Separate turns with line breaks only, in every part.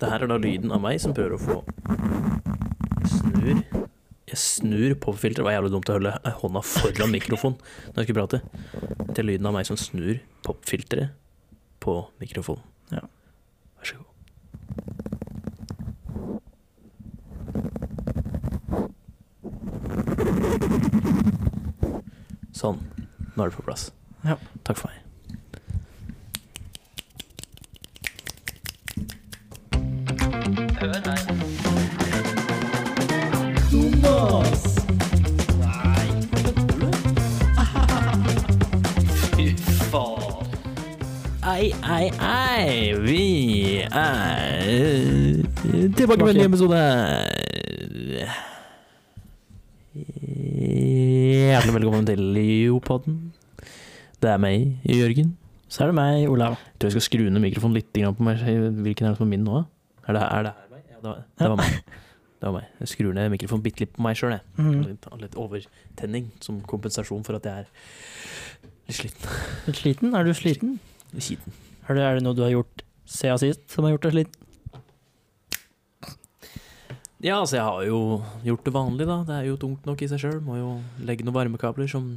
Det her er da lyden av meg som prøver å få Snur. Jeg snur popfilteret. Det var jævlig dumt å holde hånda foran mikrofonen når jeg skulle prate. Til lyden av meg som snur popfilteret på mikrofonen.
Ja.
Vær så god. Sånn. Nå er det på plass.
Ja.
Takk for meg. Ei, ei, ei. Vi er tilbake med en ny episode. Hjertelig velkommen til Leopodden. Det er meg, Jørgen.
Så er det meg, Olav.
Jeg tror jeg skal skru ned mikrofonen litt grann på meg. Hvilken er det som er min nå? da? Er det, er det her meg? Ja, det var, det var meg. Det var meg. Jeg skrur ned mikrofonen bitte litt på meg sjøl, jeg.
Mhm.
Litt, litt overtenning som kompensasjon for at jeg er litt sliten.
Litt sliten? Er du sliten?
Kiten.
Er det, er det noe du har gjort siden sist som har gjort deg sliten?
Ja, altså, jeg har jo gjort det vanlig, da. Det er jo tungt nok i seg sjøl. Må jo legge noen varmekabler som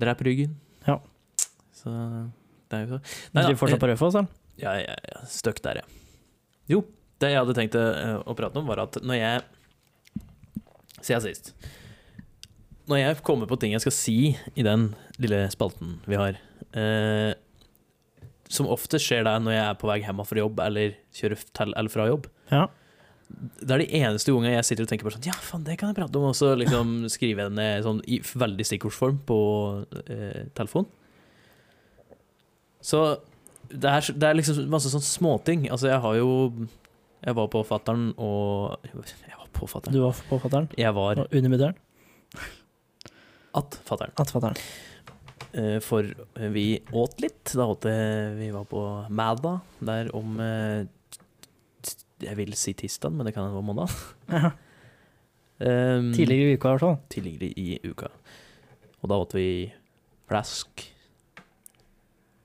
dreper ryggen.
Ja.
Så det er jo så.
Du
Nei da,
driver fortsatt på Raufoss, da?
Ja, ja, ja. Støkk der, ja. Jo, det jeg hadde tenkt eh, å prate om, var at når jeg Siden sist. Når jeg kommer på ting jeg skal si i den lille spalten vi har, eh, som ofte skjer det når jeg er på vei hjem fra jobb eller kjører til eller fra jobb
Ja.
Det er de eneste gangene jeg sitter og tenker på sånn Ja, faen, det kan jeg prate om. Og så liksom skriver jeg det ned sånn, i veldig stikkordsform på eh, telefon. Så det er, det er liksom masse sånn småting. Altså, jeg har jo Jeg var på fattern og Jeg var på fattern.
Du var på fatter'n?
Jeg var
Og under mutter'n?
at fattern.
Att fatter'n.
Eh, For vi åt litt. Da åt jeg- vi var på Mæda, der om eh, t- Jeg vil si tirsdag, men det kan hende det var mandag.
Ja.
Ehm,
Mm. Tidligere i uka, i hvert fall.
tidligere i uka. Og da åt vi flask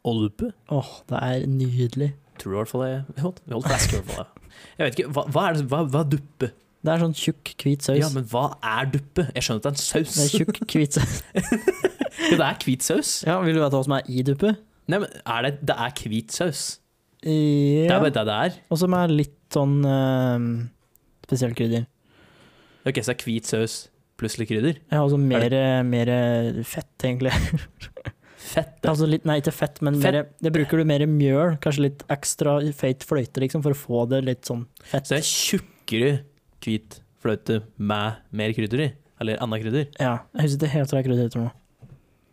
og lupe.
Åh, det er nydelig.
Tror du i hvert fall det? Vi holdt, vi holdt flask i hvert fall. ja. Jeg vet ikke, hva, hva, er, det- hva, hva er duppe?
Det er sånn tjukk, hvit saus.
Ja, men hva er duppe? Jeg skjønner at det er en
Det er
saus.
tjukk, hvit saus.
Ja, det er hvit saus.
Ja, vil du vite hva som er i duppe?
Nei, men er det, det er hvit saus. Det
Ja.
er bare det det er.
Og som er litt sånn eh, spesielt krydder.
Ok, så det er hvit saus pluss litt krydder.
Ja, altså
Er
mer, mer fett, egentlig.
Fett. det.
Altså litt, nei, ikke fett, men
Fett.
Mer, det bruker du mer mjøl. Kanskje litt ekstra feit fløyte, liksom, for å få det litt sånn fett.
Så det er tjukkere hvit fløte med mer krydder i. Eller annet krydder.
Ja, jeg husker ikke helt hva krydder heter nå.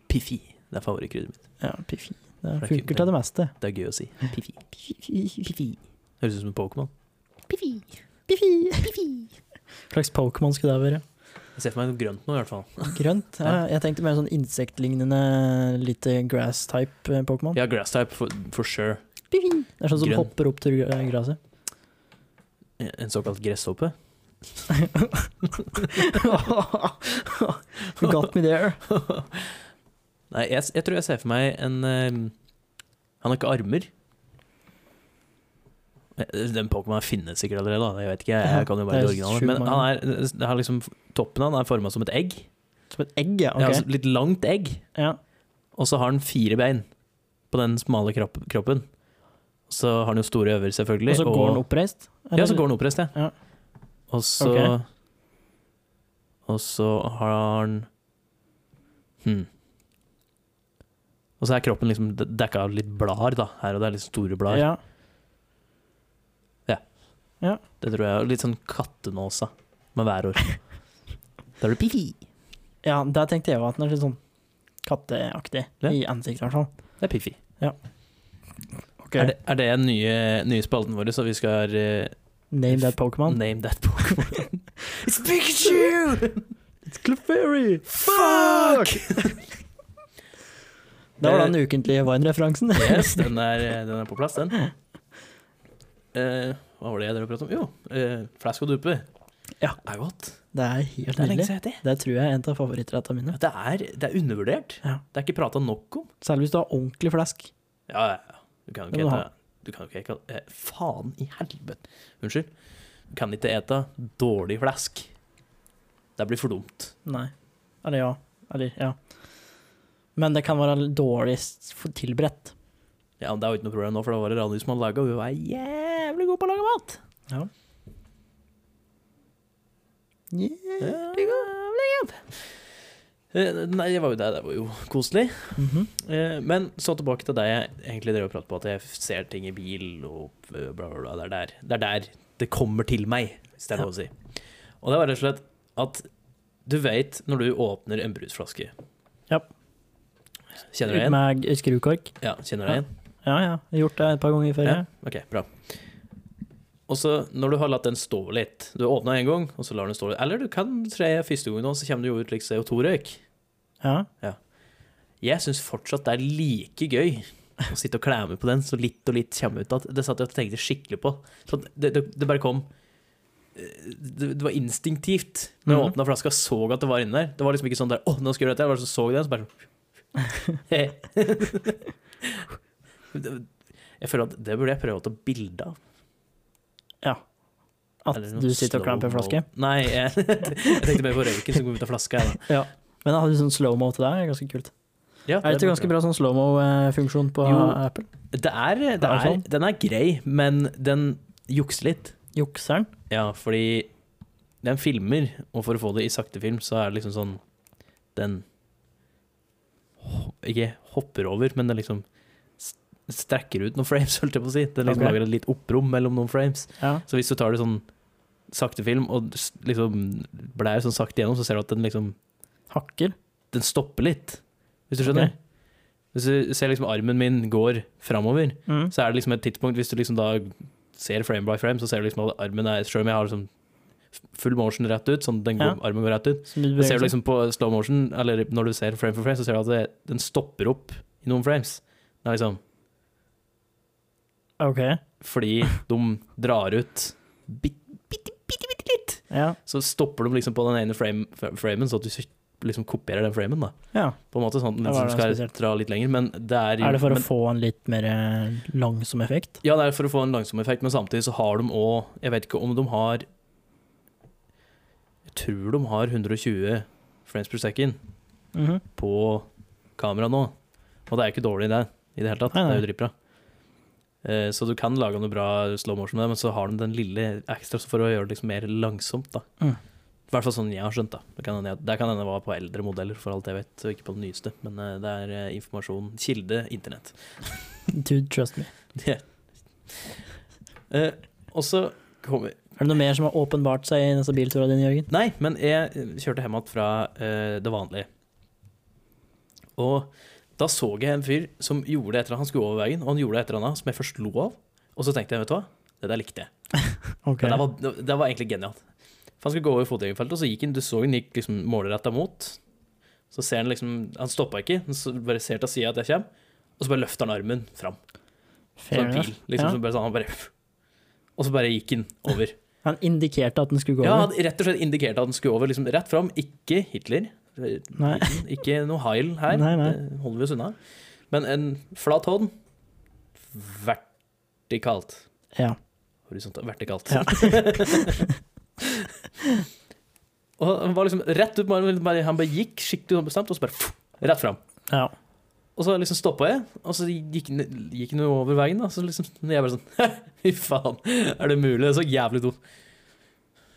Piffi. Det er favorittkryddet mitt.
Ja, piffi. Det
er ikke-
funker til det meste.
Det er gøy å si. Piffi.
Piffi.
Høres ut som en Pokémon.
Piffi. Piffi. Piffi. Hva slags Pokémon skulle det være?
Jeg ser for meg noe grønt nå, i hvert fall.
Grønt? Ja, jeg tenkte mer sånn insektlignende, lite grass-type eh, Pokémon.
Ja, grass type for, for sure.
Piffi. Det er sånn som
Grønn.
hopper opp til gr- gresset.
En såkalt gresshoppe.
You got me there.
Nei, jeg, jeg tror jeg ser for meg en eh, Han har ikke armer. Eh, Den Pokémon finnes sikkert allerede, da. Jeg vet ikke, jeg, jeg kan jo
Det
bare
er
det originale.
sjukt
Men han er, det er liksom, toppen av han er forma som et egg.
Som et egg, ja.
Ja,
Ok.
altså litt langt egg.
Ja.
Og så har han fire bein på den smale kropp, kroppen. Så har han jo store øver, selvfølgelig.
Og så går den oppreist?
Ja, så går den oppreist, ja.
Ja.
Og så
Ok.
Og så har han hm. Og så er kroppen liksom de- dekka av litt blader, da. Her og der, litt store blader.
Ja.
Det tror jeg. og Litt sånn kattenåsa med værår. Da er det pifi.
ja, der tenkte jeg at den er litt sånn katteaktig.
Ja.
I ansiktet, i hvert fall.
Det er pifi.
Ok.
Er, det, er det den nye, nye spalten vår, så vi skal eh,
Name that Pokémon.
name that Pokémon? It's Pikachu!
It's Clefairy!
Fuck!
Det var den ukentlige Vine-referansen.
Yes, den er, den er på plass, den. Eh, hva var det jeg drev og pratet om? Jo, eh, flask og dupe.
Ja.
Det er godt.
Det er
Det
helt
er lenge
nydelig.
siden jeg het det.
Det tror jeg er en av favorittrettene mine.
Det er, det er undervurdert.
Ja.
Det er ikke prata nok om.
Særlig hvis du har ordentlig flask.
Ja, ja, ja. Du kan jo
Det
ikke
må du
hete Du kan jo ikke kan, eh, Faen i helvete. Unnskyld. Du kan ikke ete dårlig flesk. Det blir for dumt.
Nei. Eller ja. Eller ja. Men det kan være dårligst for- tilberedt.
Ja, men Det er jo ikke noe problem nå, for det var det Randi som hadde laga, og hun er jævlig god på å lage mat. Jævlig god. Eh, Nei, det var jo det. Det var jo koselig.
Mhm.
Eh, Men så tilbake til det jeg egentlig drev og pratet på, at jeg ser ting i bil og bla, bla, bla. Det er der det, er der det kommer til meg, hvis det er
Ja.
lov å si. Og det var rett og slett at du vet når du åpner en brusflaske
Ja.
Kjenner du deg igjen?
Ut med skrukork.
Ja, kjenner du deg igjen?
Ja, ja. Jeg har gjort det et par ganger før.
Ja,
jeg.
ok, bra. Og så når du har latt den stå litt Du åpna en gang, og så lar du den stå litt. Eller du kan tre første gangen, nå, så kommer det jo ut like CO2-røyk.
Ja.
Jeg syns fortsatt det er like gøy å sitte og klemme på den, så litt og litt kommer ut at Det satt jeg og tenkte skikkelig på. Så det, det, det bare kom eh, det, det var instinktivt. Når jeg
Mhm.
åpna flaska, så jeg at det var inni der. Det var liksom ikke sånn der Å, nå skal jeg gjøre dette. Jeg bare så, så jeg den, så bare sånn Det- Jeg føler at det burde jeg prøve å ta bilde av.
At
Eller noe
du sitter og klemmer på en
slow-mo.
flaske.
Nei, jeg, jeg tenkte mer på røyken som kom ut av flaska. jeg, da.
Men jeg hadde sånn slow-mo til deg. Ganske kult.
Ja,
Er det ikke ganske bra sånn slow-mo-funksjon på
Jo.
Apple?
Det er, det
det
er,
sånn?
den er grei, men den jukser litt.
Jukseren?
Ja, fordi den filmer, og for å få det i sakte film, så er det liksom sånn Den ho- ikke hopper over, men den liksom st- strekker ut noen frames, holdt jeg på å si. Den liksom
Ok.
lager et litt opprom mellom noen frames.
Ja.
Så hvis du tar det sånn sakte film, og s- liksom blær sånn sakte gjennom, så ser du at den liksom
Hakker?
Den stopper litt, hvis du skjønner?
Ok.
Hvis du ser liksom armen min går framover,
Mm.
så er det liksom et tidspunkt Hvis du liksom da ser frame by frame, så ser du liksom at armen er Selv om jeg har liksom full motion rett ut, sånn at den går, armen går rett ut,
Som du
så
beveger
ser du liksom på slow motion, eller når du ser frame for frame, så ser du at det, den stopper opp i noen frames. Det er liksom
seg. Ok.
fordi de drar ut bitte, bitte, bitte, bitte litt.
Ja.
Så stopper de liksom på den ene frame, framen, så at du liksom kopierer den framen, da.
ja.
På en måte sånn at
Ja,
den
var
liksom
det
skal
spesielt?
dra litt lenger, men det er jo
Er det for
men-
å få en litt mer eh, langsom effekt?
Ja, det er for å få en langsom effekt, men samtidig så har de òg Jeg vet ikke om de har Jeg tror de har 120 frames per second
Mhm.
på kamera nå. Og det er jo ikke dårlig, det, i det hele tatt.
Nei, nei.
Det er jo dritbra. Eh, Så du kan lage noe bra slow motion med det, men så har de den lille ekstra for å gjøre det liksom mer langsomt, da.
Mm.
I hvert fall sånn jeg har skjønt, da. Det kan hende jeg- det kan hende det var på eldre modeller, for alt jeg vet, og ikke på den nyeste. Men eh, det er eh, informasjon, kilde, internett.
Dude, trust me.
Ja. Eh, og så kommer
Er det noe mer som har åpenbart seg i denne bilturen din, Jørgen?
Nei, men jeg kjørte hjem igjen fra eh, det vanlige. Og da så jeg en fyr som gjorde et eller annet. Han skulle over veien, og han gjorde et eller annet som jeg først lo av. Og så tenkte jeg, vet du hva, det der likte jeg.
Ok.
Det, der var, det var egentlig genialt. For han skulle gå over fotgjengerfeltet, og så gikk han, du så han gikk liksom målretta mot. Så ser han liksom Han stoppa ikke, han så bare ser til sida at jeg kommer, og så bare løfter han armen fram.
Fair
Som en
enough.
pil. Liksom,
Ja.
så bare, sånn, han bare, og så bare gikk han over.
Han indikerte at den skulle gå
Ja, han
over.
rett og slett indikerte at den skulle over. Liksom, rett fram, ikke Hitler.
Nei.
Ikke noe Heil her.
Nei, nei.
Det holder vi oss unna. Men en flat hånd, vertikalt.
Ja.
Horisontalt. Vertikalt.
Ja.
og han var liksom rett ut, bare- bare- han bare gikk skikkelig bestemt, og så bare pff, rett fram.
ja.
Og så liksom stoppa jeg, og så gikk, gikk han jo over veien. Da, så liksom, jeg bare sånn Fy faen, er det mulig? Det er så jævlig dumt.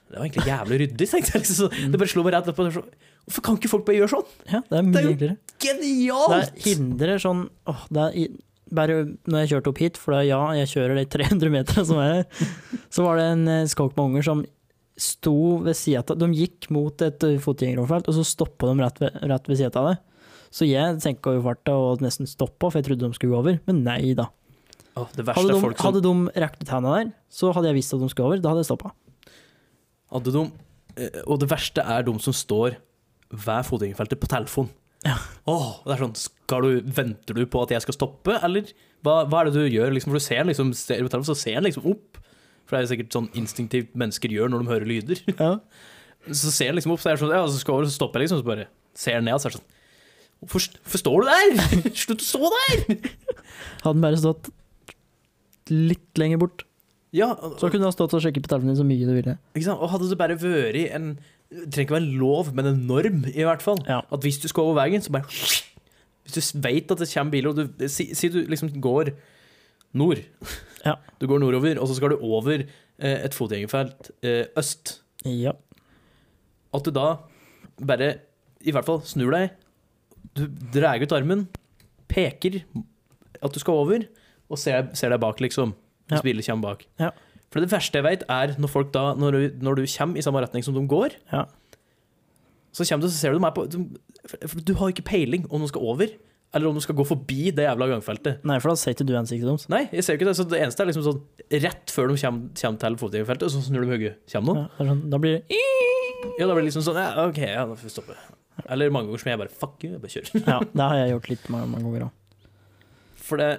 Det var egentlig jævlig ryddig, tenkte jeg. liksom. Så det bare slo meg rett opp. og det var så- Hvorfor kan ikke folk bare gjøre sånn?
ja,
Det
det er
er
mye
jo
hyggeligere. Det
Genialt!
er hindrer sånn åh, det er i- bare når jeg kjørte opp hit, for da, ja, jeg kjører de 300 meterne som er her, så var det en eh, skokk med unger som sto ved sida av De gikk mot et eh, fotgjengeroverfelt, og så stoppa de rett ved, rett ved sida av det. Så jeg senka jo farta og nesten stoppa, for jeg trodde de skulle gå over, men nei da.
Åh, det verste
Hadde
er
de,
folk som
hadde de rekt ut handa der, så hadde jeg visst at de skulle over, da hadde jeg stoppa.
Hadde de, eh, og det verste er de som står ved fotgjengerfeltet på telefon.
Ja.
Åh, det er sånn, skal du, Venter du på at jeg skal stoppe, eller hva, hva er det du gjør? Liksom, for du ser liksom, ser du på telefonen, så ser han liksom opp. For det er jo sikkert sånn instinktivt mennesker gjør når de hører lyder.
Ja.
Så ser han liksom opp, så er det sånn, ja, så skal jeg over, så stopper jeg liksom, så bare ser han ned, så er det sånn Hvorfor, hvorfor står du der? Slutt å stå der!
Hadde den bare stått litt lenger bort.
Ja,
Så kunne du ha stått og sjekket på telefonen din så mye du ville.
Ikke sant? Og hadde det bare vært en Det trenger ikke være en lov, men en norm, i hvert fall.
Ja.
At hvis du skal over veien, så bare Hvis du veit at det kommer biler, og du Si, si du liksom går nord.
Ja.
Du går nordover, og så skal du over eh, et fotgjengerfelt eh, øst.
Ja.
At du da bare I hvert fall snur deg, du drar ut armen, peker at du skal over, og ser, ser deg bak, liksom. Hvis
Ja.
biler kommer bak.
Ja.
For det verste jeg veit, er når folk da når du, når du kommer i samme retning som de går,
Ja.
så kommer du, så ser du dem er på de, For du har jo ikke peiling om de skal over, eller om de skal gå forbi det jævla gangfeltet.
Nei, for da ser ikke du ansiktet deres.
Nei, jeg ser jo ikke det. Så det eneste er liksom sånn rett før de kommer, kommer til fotgjengerfeltet, så snur de hodet. Kommer noen?
Ja, det er sånn- da blir det
Ja, da blir det liksom sånn ja, OK, ja, da får vi stoppe. Eller mange ganger som jeg bare Fuck you, jeg bare kjører.
Ja, det har jeg gjort litt mange, mange ganger òg.
For det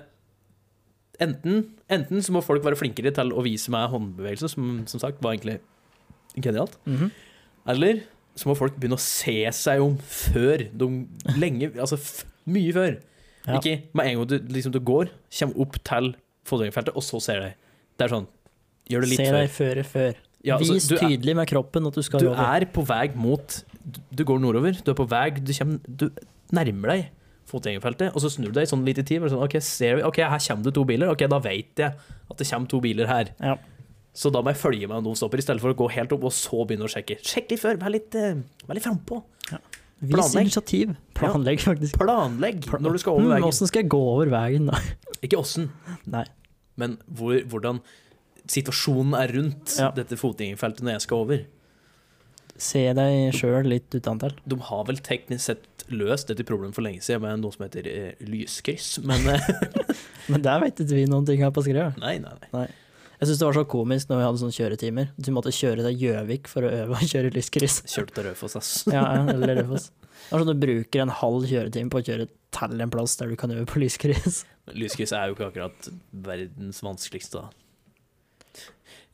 enten, enten så må folk være flinkere til å vise meg håndbevegelser, som som sagt var egentlig genialt. Eller så må folk begynne å se seg om før de lenge Altså f mye før.
Ja.
Ikke med en gang du, liksom, du går, kommer opp til fotgjengerfeltet, og så ser deg. Det er sånn Gjør det litt
Se
før.
deg før, før.
Ja, altså,
Vis
du er-
tydelig med kroppen at du skal
du
over.
er på vei mot du- Du går nordover, du er på vei, du, kommer, du nærmer deg fotgjengerfeltet, og så snur du deg sånn litt i tid. bare Sånn, ok, ser vi, ok, her kommer det to biler. Ok, da vet jeg at det kommer to biler her.
Ja.
Så da må jeg følge med når de stopper, i stedet for å gå helt opp og så begynne å sjekke. Sjekk litt før, vær litt, eh, vær litt frampå.
Vis
planlegg.
initiativ. Planlegg, faktisk.
Planlegg
Plan-
når du skal over
Hmm,
veien.
Åssen skal jeg gå over veien, da?
Ikke åssen,
Nei.
men hvor, hvordan situasjonen er rundt
Ja.
dette fotgjengerfeltet når jeg skal over.
Se deg sjøl litt utentil.
De har vel teknisk sett løst dette problemet for lenge siden med noe som heter eh, lyskryss, men eh,
Men der vet ikke vi noen ting her på skrevet.
Nei, nei, nei.
Jeg syns det var så komisk når vi hadde sånne kjøretimer. Du måtte kjøre til Gjøvik for å øve å kjøre lyskryss.
Kjørte til Raufoss, ass.
Ja, ja, eller Rødfoss. Det er sånn du bruker en halv kjøretime på å kjøre til en plass der du kan øve på lyskryss.
Lyskryss er jo ikke akkurat verdens vanskeligste, da.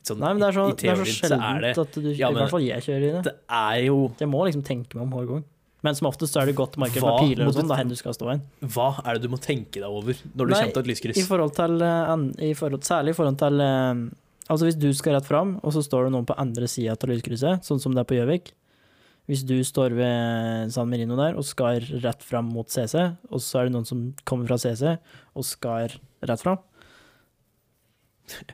Sånn,
Nei, men det er så,
i- i
det er så
teorien er
sjeldent
det,
at du
Ja,
I
men-
hvert fall jeg kjører i det.
det er jo
Jeg må liksom tenke meg om hver gang. Men som oftest så er det godt markert
Hva
med piler
må
og
du
sånn, det er hen du skal stå hen.
Hva er det du må tenke deg over når du
Nei,
kommer til et
I
lyskryss?
forhold til, eh, an- i forhold, særlig i forhold til eh, Altså hvis du skal rett fram, og så står det noen på andre sida av lyskrysset, sånn som det er på Gjøvik. Hvis du står ved San Marino der og skal rett fram mot CC, og så er det noen som kommer fra CC og skal rett fram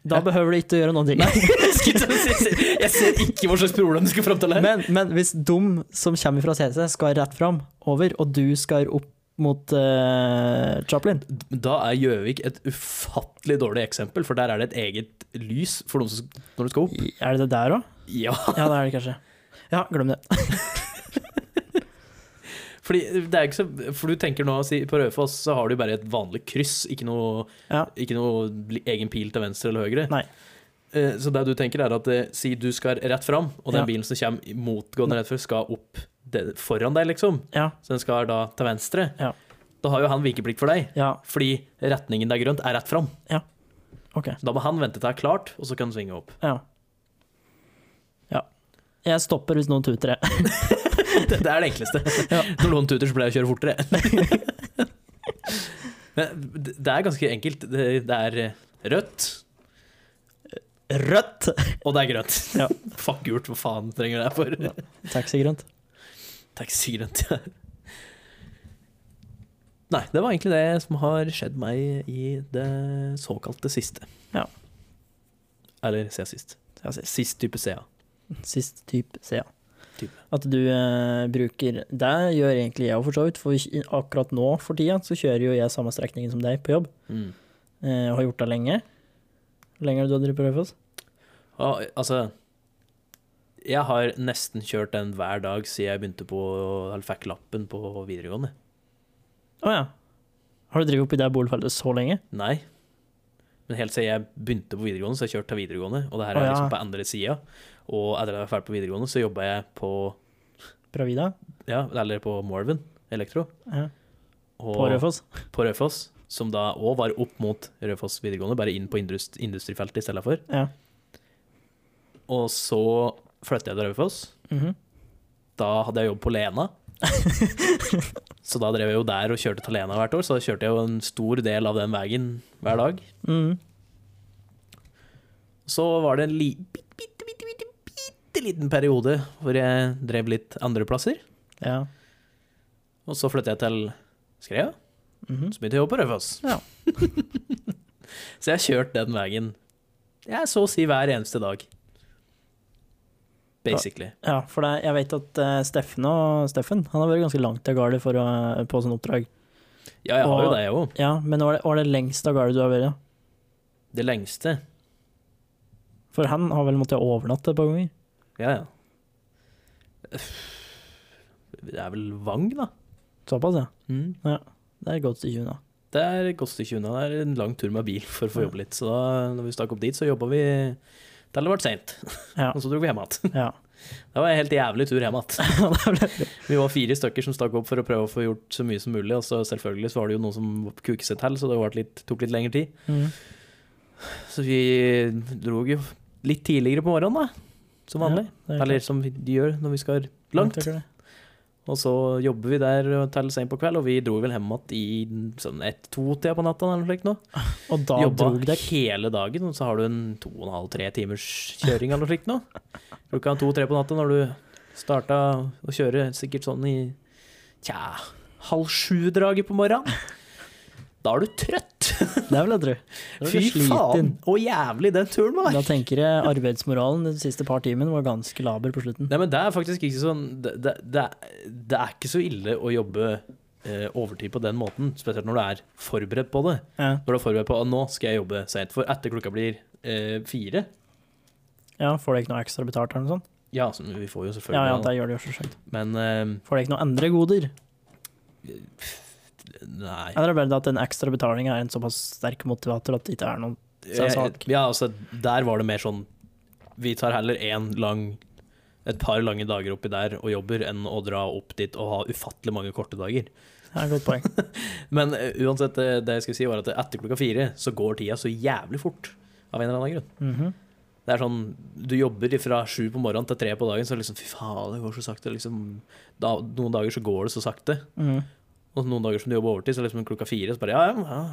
Da
Ja.
behøver du ikke å gjøre noen ting.
Jeg ser- jeg ser ikke hva slags problem du skal fram til her.
Men, men hvis de som kommer fra CC, skal rett fram, over, og du skal opp mot eh, Chaplin
Da er Gjøvik et ufattelig dårlig eksempel, for der er det et eget lys for noen som, når du skal opp.
Er det det der òg?
Ja,
Ja, det er det kanskje. Ja, glem det.
fordi det er ikke så For du tenker nå si, På Raufoss så har du bare et vanlig kryss, ikke noe,
Ja.
ikke noe li- egen pil til venstre eller høyre.
Nei.
Eh, Så det du tenker, er at eh, si du skal rett fram, og den
Ja.
bilen som kommer motgående rett før, skal opp det- foran deg, liksom.
Ja,
Så den skal da til venstre.
Ja.
Da har jo han vikeplikt for deg,
ja,
fordi retningen det er grønt, er rett fram.
ok.
Da må han vente til det er klart, og så kan han svinge opp.
Ja. ja. Jeg stopper hvis noen tuter, jeg.
Det, det er det enkleste.
Ja.
Når noen tuter, så pleier jeg å kjøre fortere. Men det det er ganske enkelt. Det, det er eh, rødt,
Rødt!
og det er grønt.
Ja.
Fuck gult, hva faen trenger det for?
Ja. Taxigrønt.
Taxigrønt. ja. Nei, det var egentlig det som har skjedd meg i det såkalte siste.
Ja.
Eller se sist.
Ja, sist.
Sist type CA.
Sist type ser jeg.
Type.
At du eh, bruker Det gjør egentlig jeg òg, for så vidt. For i- akkurat nå for tida så kjører jo jeg samme strekningen som deg på jobb.
Mm.
Eh, og har gjort det lenge. Hvor lenge har du drevet på Raufoss?
Og, altså Jeg har nesten kjørt den hver dag siden jeg begynte på Eller fikk lappen på videregående.
Å ja. Har du drevet oppi det boligfeltet så lenge?
Nei. Men helt siden jeg begynte på videregående, så har jeg kjørt til videregående. Og det her
Å,
er
ja.
liksom på andre sida. Og etter at jeg var ferdig på videregående, så jobba jeg på
Bravida?
Ja, eller på Morven Elektro.
Ja.
Og,
På Raufoss?
på Raufoss, som da òg var opp mot Raufoss videregående, bare inn på indust industrifeltet i stedet for.
Ja.
Og så flyttet jeg til Raufoss.
Mhm.
Da hadde jeg jobb på Lena. så da drev jeg jo der og kjørte til Lena hvert år, så da kjørte jeg jo en stor del av den veien hver dag.
Mhm.
så var det en li bitte, bitte, bitte, bitte, bitte liten periode hvor jeg drev litt andreplasser.
Ja.
Og så flyttet jeg til Skrea,
Mhm.
så begynte jeg å jobbe på Raufoss.
Ja.
så jeg har kjørt den veien jeg så å si hver eneste dag. Basically.
ja, for det, jeg vet at eh, Steffen og Steffen han har vært ganske langt av gårde for å- på sånn oppdrag.
Ja, jeg har jo
Og-
det, jeg òg.
Ja, Men var det, var det lengst av gårde du har vært?
Det lengste.
For han har vel måttet overnatte et par ganger?
Ja, ja. Det er vel Vang, da.
Såpass, ja. Det er et godt stykke unna.
Det er et godt stykke unna. Det er en lang tur med bil for å få
Ja.
jobbe litt. Så da når vi stakk opp dit, så jobba vi til det ble seint.
Ja.
Og så dro vi hjem igjen.
Ja.
Det var en helt jævlig tur hjem igjen.
Ja, det ble det.
Vi var fire stykker som stakk opp for å prøve å få gjort så mye som mulig. Og så selvfølgelig så var det jo noen som kuket seg til, så det ble litt, tok litt lengre tid.
Mhm.
Så vi dro jo litt tidligere på morgenen, da. Som vanlig.
Ja, det er
Eller
klart.
som vi gjør når vi skal langt.
Jeg tenker det.
Og så jobber vi der til sent på kveld, og vi dro vel hjem igjen i sånn ett-to-tida på natta. eller noe slikt nå.
Og da
Jobba
drog dere
hele dagen, og så har du en to og en halv, tre timers kjøring eller noe slikt nå. Klokka to-tre på natta når du starta å kjøre sikkert sånn i tja, halv sju-draget på morgenen. Da er du trøtt!
Det er vel det, tror
Fy faen, å jævlig den turen var!
Da tenker jeg arbeidsmoralen de siste par timene var ganske laber på slutten.
Nei, men det er faktisk ikke sånn Det, det, det, er- det er ikke så ille å jobbe eh, overtid på den måten, spesielt når du er forberedt på det.
Ja,
Når du er forberedt på at nå skal jeg jobbe sent, for etter klokka blir eh, fire
ja Får dere ikke noe ekstra betalt eller noe sånt?
Ja, så vi får jo
Ja, ja,
selvfølgelig
det gjør det jo selvsagt.
det, men eh,
Får dere ikke noe andre goder?
Nei.
Eller er det bare det at den ekstra betalinga er en såpass sterk motivator at det ikke er noen så er det sak.
Eh, Ja, altså, der var det mer sånn Vi tar heller en lang et par lange dager oppi der og jobber, enn å dra opp dit og ha ufattelig mange korte dager.
Det er et godt poeng.
Men eh, uansett, eh, det jeg skulle si, var at etter klokka fire så går tida så jævlig fort. Av en eller annen grunn.
Mhm.
Det er sånn, Du jobber fra sju på morgenen til tre på dagen, så liksom, fy faen, det går så sakte. liksom, da, Noen dager så går det så sakte.
Mhm.
Og noen dager som du jobber overtid, så liksom klokka fire så bare ja, ja, ja,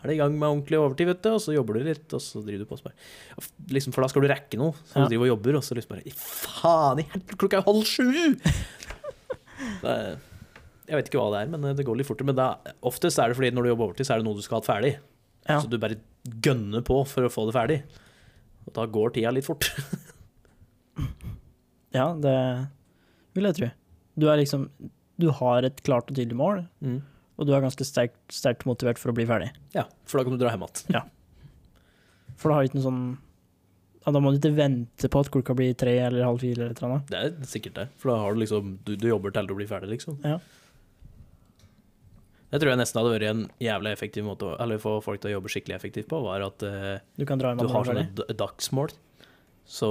er det i gang med ordentlig overtid, vet du, og så jobber du litt, og så driver du på og så bare og f- liksom, For da skal du rekke noe, så
Ja.
du driver og jobber, og så liksom bare "I Faen i helvete, klokka er halv sju! Det er- Jeg vet ikke hva det er, men eh, det går litt fortere. Men da, oftest er det fordi når du jobber overtid, så er det noe du skal ha hatt ferdig.
Ja.
Så du bare gønner på for å få det ferdig. Og da går tida litt fort.
ja, det vil jeg tro. Du er liksom Du har et klart og tydelig mål, og du er ganske sterkt, sterkt motivert for å bli ferdig.
Ja, for da kan du dra hjem igjen.
For da har du ikke noe sånn ja, Da må du ikke vente på at klokka blir tre eller halv fire eller et eller annet.
Det er sikkert det. For da har du liksom Du, du jobber til du blir ferdig, liksom.
Ja.
Det tror jeg nesten hadde vært en jævlig effektiv måte å eller få folk til å jobbe skikkelig effektivt på, var at eh,
Du kan dra hjem
du
og
har
bli
sånne
ferdig.
d- dagsmål. Så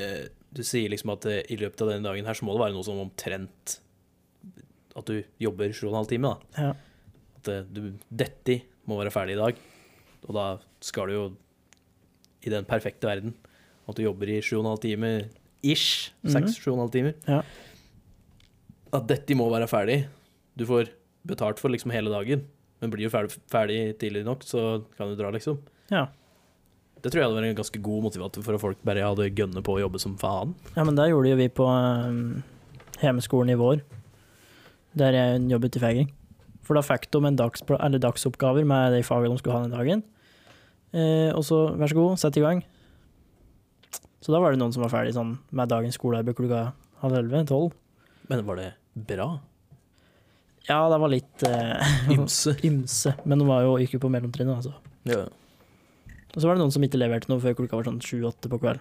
eh, du sier liksom at eh, i løpet av denne dagen her så må det være noe som omtrent At du jobber sju og en halv time, da.
Ja.
At eh, du, dette må være ferdig i dag. Og da skal du jo i den perfekte verden at du jobber i sju og en halv time ish.
Mhm.
Seks, sju og en halv timer.
Ja.
At dette må være ferdig. Du får betalt for liksom hele dagen, men blir jo ferdig, ferdig tidlig nok, så kan du dra, liksom.
Ja.
Det tror jeg hadde vært en ganske god motivator for at folk bare hadde gønne på å jobbe som faen.
Ja, men det gjorde jo vi på um, hjemmeskolen i vår, der jeg jobbet i fegring. For da fikk de en dags, eller dagsoppgaver med de fagene de skulle ha den dagen. Eh, og så, vær så god, sett i gang. Så da var det noen som var ferdig sånn, med dagens skolearbeid klokka halv elleve, tolv.
Men var det bra?
Ja, det var litt eh,
Ymse.
ymse, men de var jo ikke på mellomtrinnet, altså.
Ja.
Og så var det noen som ikke leverte noe før klokka var sånn sju-åtte på kveld.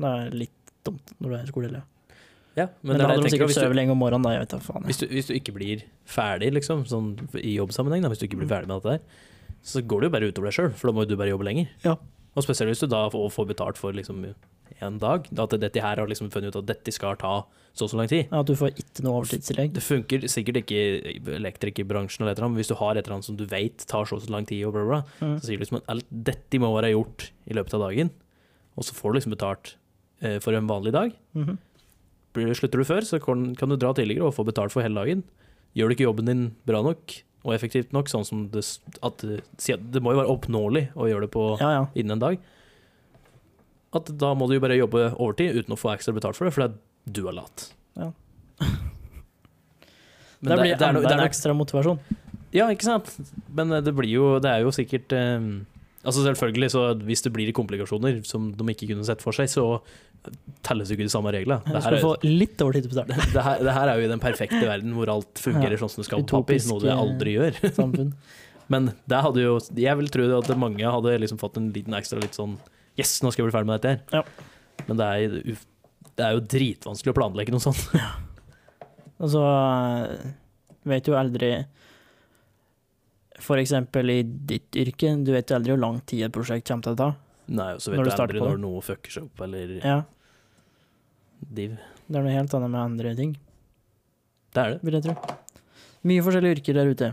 Det er litt dumt når du er skoleelev.
ja, men,
Men,
det
da
er
hadde
det
de
jeg tenker.
sikkert
Hvis du,
sovet lenge om morgenen, da. Jeg vet da faen. jeg.
hvis, du, hvis du ikke blir ferdig, liksom, sånn i jobbsammenheng, da, hvis du ikke blir
Mm.
ferdig med dette her, så går det jo bare utover deg sjøl, for da må jo du bare jobbe lenger.
Ja.
Og spesielt hvis du da får, får betalt for liksom en dag, at dette her har liksom funnet ut at dette skal ta så og så lang tid.
Ja, At du får ikke noe overtidstillegg.
Det funker sikkert ikke i elektrikerbransjen, eller et eller annet, men hvis du har et eller annet som du vet tar så og så lang tid, og bla, bla, bla,
Mm.
så sier du liksom at alt dette må være gjort i løpet av dagen, og så får du liksom betalt eh, for en vanlig dag.
Mhm.
Blir- Slutter du før, så kan kan du dra tidligere og få betalt for hele dagen. Gjør du ikke jobben din bra nok og effektivt nok, sånn som det, s- at, det- si at det må jo være oppnåelig å gjøre det på
Ja, ja.
innen en dag, at da må du jo bare jobbe overtid uten å få ekstra betalt for det, fordi at du er lat.
Ja.
Men
det
det,
blir
det, er no,
enda
det er
en
nok
ekstra motivasjon.
Ja, ikke sant? Men eh, det blir jo Det er jo sikkert eh, Altså selvfølgelig, så hvis det blir komplikasjoner som de ikke kunne sett for seg, så telles jo ikke de samme reglene. Det
Du
her,
skal
er,
få litt overtid på
det,
starten.
det, her, det her er jo i den perfekte verden hvor alt fungerer sånn som det skal på papir,
Utopisk, eh,
noe det aldri gjør.
Samfunn.
Men det hadde jo Jeg vil tro at mange hadde liksom fått en liten ekstra litt sånn Yes, nå skal jeg bli ferdig med dette her. Men det er, uff, det er jo dritvanskelig å planlegge noe sånt.
Og så eh, vet du aldri For eksempel i ditt yrke, du vet jo aldri hvor lang tid et prosjekt kommer til å ta.
Nei, og så vet du
Når du starter
aldri
på
når
det.
noe fucker seg opp, eller
Ja,
div.
det er noe helt annet med andre ting,
Det er det.
vil jeg tro. Mye forskjellige yrker der ute.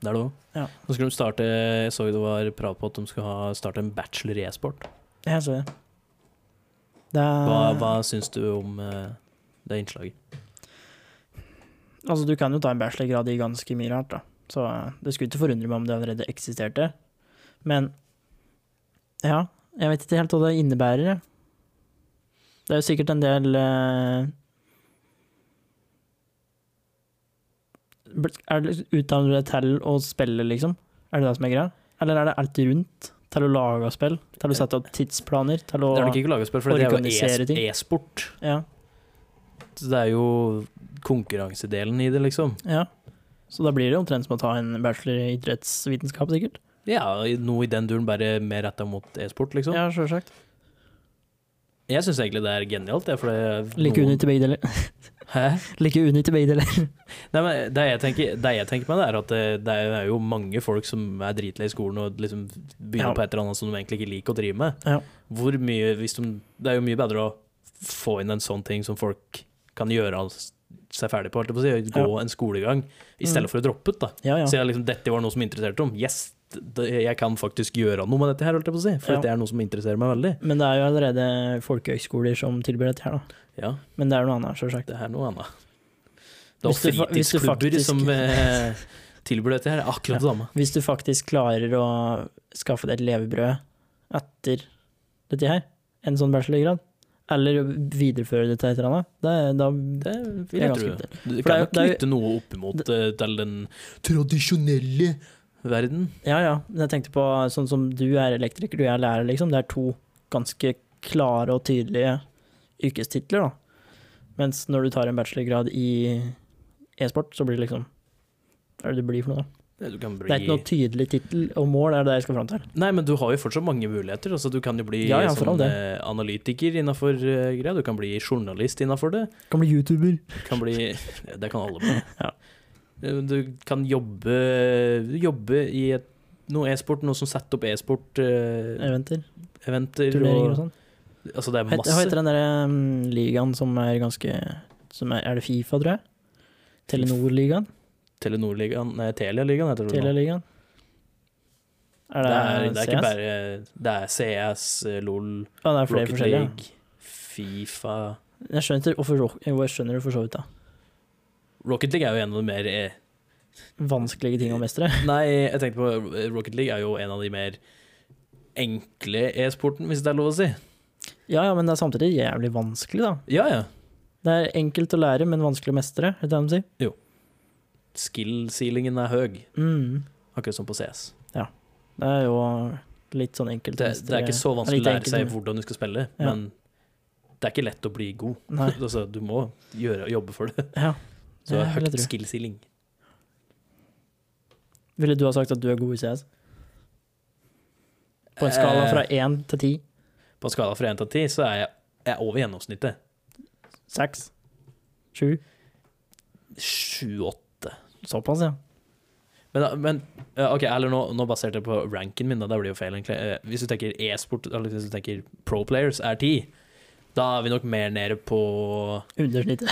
Det er det òg.
Ja.
Nå skal de starte Jeg så det var prat på at de skal ha, starte en bachelor i e-sport.
Jeg så det. Det er
Hva, hva syns du om eh, det innslaget?
Altså, du kan jo ta en bachelorgrad i ganske mye rart, da. Så eh, det skulle ikke forundre meg om det allerede eksisterte. Men ja, jeg vet ikke helt hva det innebærer. jeg. Det er jo sikkert en del eh, bl- Er det Utdanner du deg til å spille, liksom? Er det det som er greia? Eller er det alt rundt? Til å lage spill? Til å sette opp tidsplaner? Til å
det er nok ikke lagespill, for det er jo
organisere ting.
e- e-sport.
Ja.
Så det er jo konkurransedelen i det, liksom.
ja. Så da blir det omtrent som å ta en bachelor i idrettsvitenskap, sikkert.
Ja, i- noe i den duren, bare mer retta mot e-sport, liksom.
Ja, sjølsagt.
Jeg syns egentlig det er genialt, det, for det er
Like
noen-
unytt i begge deler.
Hæ?
Like unytt i begge deler.
Nei, men det jeg tenker, det jeg tenker på, det er at eh, det, det er jo mange folk som er dritlei i skolen og liksom begynner
Ja.
på et eller annet som de egentlig ikke liker å drive med.
Ja.
Hvor mye, hvis de, det er jo mye bedre å få inn en sånn ting som folk kan gjøre av s- seg ferdig på, holdt jeg på å si, gå en skolegang, i
Mm.
stedet for å droppe ut. da.
Ja, ja.
Så jeg, liksom, dette var noe som interesserte dem. Yes, det, jeg kan faktisk gjøre noe med dette her, holdt jeg på å si, for
Ja.
det er noe som interesserer meg veldig.
Men det er jo allerede folkehøgskoler som tilbyr dette her, da.
Ja,
Men det er noe annet, sjølsagt.
det er noe annet. Det er
Hvis du fa- hvis du
fritidsklubber
faktisk-
som eh, tilbyr dette her, er akkurat det samme.
Hvis du faktisk klarer å skaffe deg et levebrød etter dette her, en sånn bachelorgrad, eller videreføre det til et eller annet, det, da
Det
Det
vil
er
jeg
ganske
tro.
kult.
Du
For det er
kan
jo-
jo
det er jo-
knytte noe opp imot eh, til den tradisjonelle verden.
Ja ja. Men jeg tenkte på sånn som du er elektriker, du er lærer, liksom. Det er to ganske klare og tydelige yrkestitler, da. Mens når du tar en bachelorgrad i e-sport, så blir det liksom Hva er det det blir for noe, da?
Du kan bli...
Det er ikke noe tydelig tittel og mål, er det jeg skal fram til.
Nei, men du har jo fortsatt mange muligheter. Altså, du kan jo bli
Ja, ja, for all
sånn, eh, analytiker innafor uh, greia, du kan bli journalist innafor det.
Kan bli YouTuber.
Du kan bli Det kan alle bli.
Ja.
Eh, Du kan jobbe, jobbe i et, noe e-sport, noe som setter opp e-sport-eventer.
Eventer. Turneringer og sånn.
Altså, det er
Hva
masse.
heter den derre um, ligaen som er ganske som er, er det Fifa, tror jeg? Telenor-ligaen?
Telenor-ligaen Nei, Telia-ligaen heter det. nå.
Telia-ligaen? Er
Det
det,
er, det er
CS?
ikke bare Det er CS, eh, LOL,
ja, det er flere
Rocket
forskjellige.
League, Fifa
Jeg skjønner, ikke hvorfor, ro- jo, jeg skjønner det for så vidt, da.
Rocket League er jo en av de mer eh,
Vanskelige ting å mestre.
Nei, jeg tenkte på eh, Rocket League er jo en av de mer enkle e-sporten, hvis det er lov å si.
Ja, ja, men det er samtidig jævlig vanskelig, da.
Ja, ja.
Det er enkelt å lære, men vanskelig å mestre, vet du hva de sier?
Skill-sealingen er høy,
Mm.
akkurat som på CS.
Det er jo litt sånn enkelt
Det, det er ikke så vanskelig å
Litt
lære
enkelt,
seg
men-
hvordan du skal spille,
Ja.
men det er ikke lett å bli god.
Nei.
Altså, du må gjøre, jobbe for det.
Ja.
Så
Ja, vil jeg
høyt
tro.
skill-sealing.
Ville du ha sagt at du er god i CS? På en skala
Eh.
fra én til ti?
På en skala fra 1 til 10 så er jeg, jeg er over gjennomsnittet.
Seks? Sju?
7-8.
Såpass, ja.
Men, men eh, ok, eller nå, nå baserte jeg på ranken min, da. Det blir jo feil, egentlig. Eh, Hvis du tenker e-sport, eller hvis du tenker pro players, er 10, da er vi nok mer nede på
Undersnittet.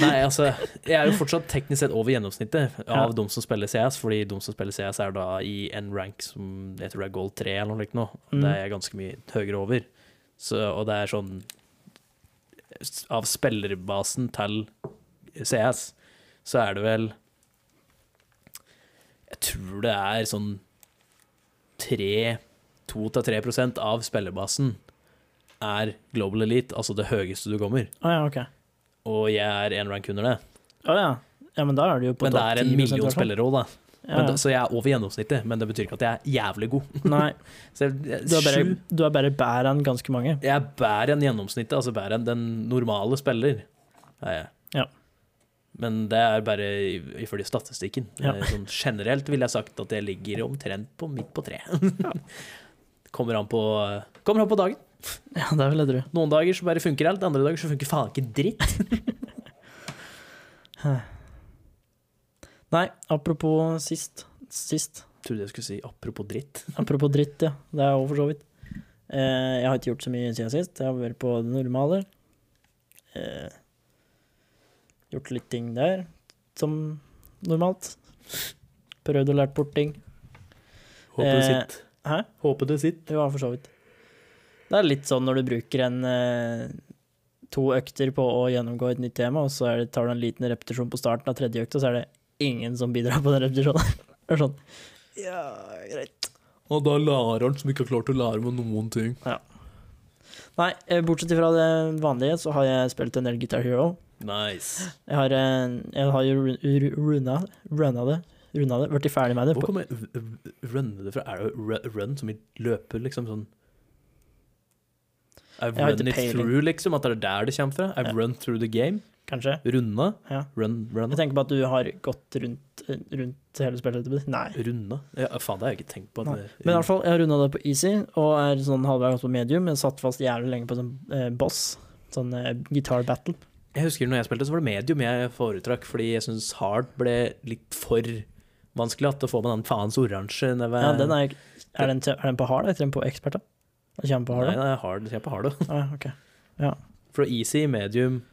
Nei, altså, jeg er jo fortsatt teknisk sett over gjennomsnittet av
Ja.
de som spiller CS, fordi de som spiller CS er da i en rank som jeg tror det er gold 3 eller noe likt nå.
Mm.
Det er jeg ganske mye høyere over. Så, og det er sånn Av spillerbasen til CS, så er det vel Jeg tror det er sånn 3 2-3 av spillerbasen er global elite, altså det høyeste du kommer.
Å ja, ok.
Og jeg er én rank under det.
Å ja. ja, men da er du jo på
Men det
topp
er
10
en
i
million
hvert fall.
spillere òg, da.
Ja,
Men
ja.
da. Så jeg er over gjennomsnittet, men det betyr ikke at jeg er jævlig god.
Nei,
Så jeg,
du er bare,
sju,
du er bare bedre enn ganske mange.
jeg er bedre enn gjennomsnittet, altså bedre enn den normale spiller. Er jeg.
Ja.
Men det er bare i- ifølge statistikken.
Ja.
Eh, Sånn generelt ville jeg sagt at jeg ligger omtrent på midt på tre. Kommer an på, eh, kommer an på dagen.
Ja, det vil jeg tro.
Noen dager så bare funker alt, andre dager så funker faen ikke dritt.
Nei, apropos sist. Sist.
Trodde jeg skulle si apropos dritt.
Apropos dritt, ja. Det er over for så vidt. Eh, jeg har ikke gjort så mye siden sist. Jeg har vært på det normale. Eh, gjort litt ting der, som normalt. Prøvd å lære bort ting.
Håper det
Eh,
sitt.
hæ?
Håper det sitt.
Jo, ja, for så vidt. Det er litt sånn når du bruker en eh, to økter på å gjennomgå et nytt tema, og så er det, tar du en liten repetisjon på starten av tredje økta, så er det ingen som bidrar på den repetisjonen. Det er sånn Ja, greit.
Og da læreren som ikke har klart å lære meg noen ting.
Nei, eh, bortsett fra det vanlige, så har jeg spilt en del Guitar Hero.
Nice.
Jeg har, eh, jeg har jo run- ru- runda runda det. Runda det. Blitt ferdig med det.
Hvor
På,
kommer v- v- runne det fra? Er det ru- run som i løper, liksom? Sånn I've
Jeg har ikke
run it
peiling.
through, liksom? At det er der det kommer fra? I've
Ja.
run through the game?
kanskje.
Runde?
Ja.
Run,
Jeg
runde?
tenker på at du har gått rundt, eh, rundt hele spillet. Nei.
Runde? Ja, faen, det har jeg ikke tenkt på. At
Nei.
det,
Men i hvert fall, jeg har runda det på easy, og er sånn halvveis på medium. Jeg satt fast jævlig lenge på sånn eh, boss, sånn eh, guitar battle.
Jeg husker når jeg spilte, så var det medium jeg foretrakk, fordi jeg syns hard ble litt for vanskelig at å få med den faens oransje nedover
Ja, den er, er, den, til- er den på hard, eller er den på expert? da? Den kommer på hard,
Nei,
da?
nei, hard. Jeg er på hard, da.
Ah, ok.
For easy, medium,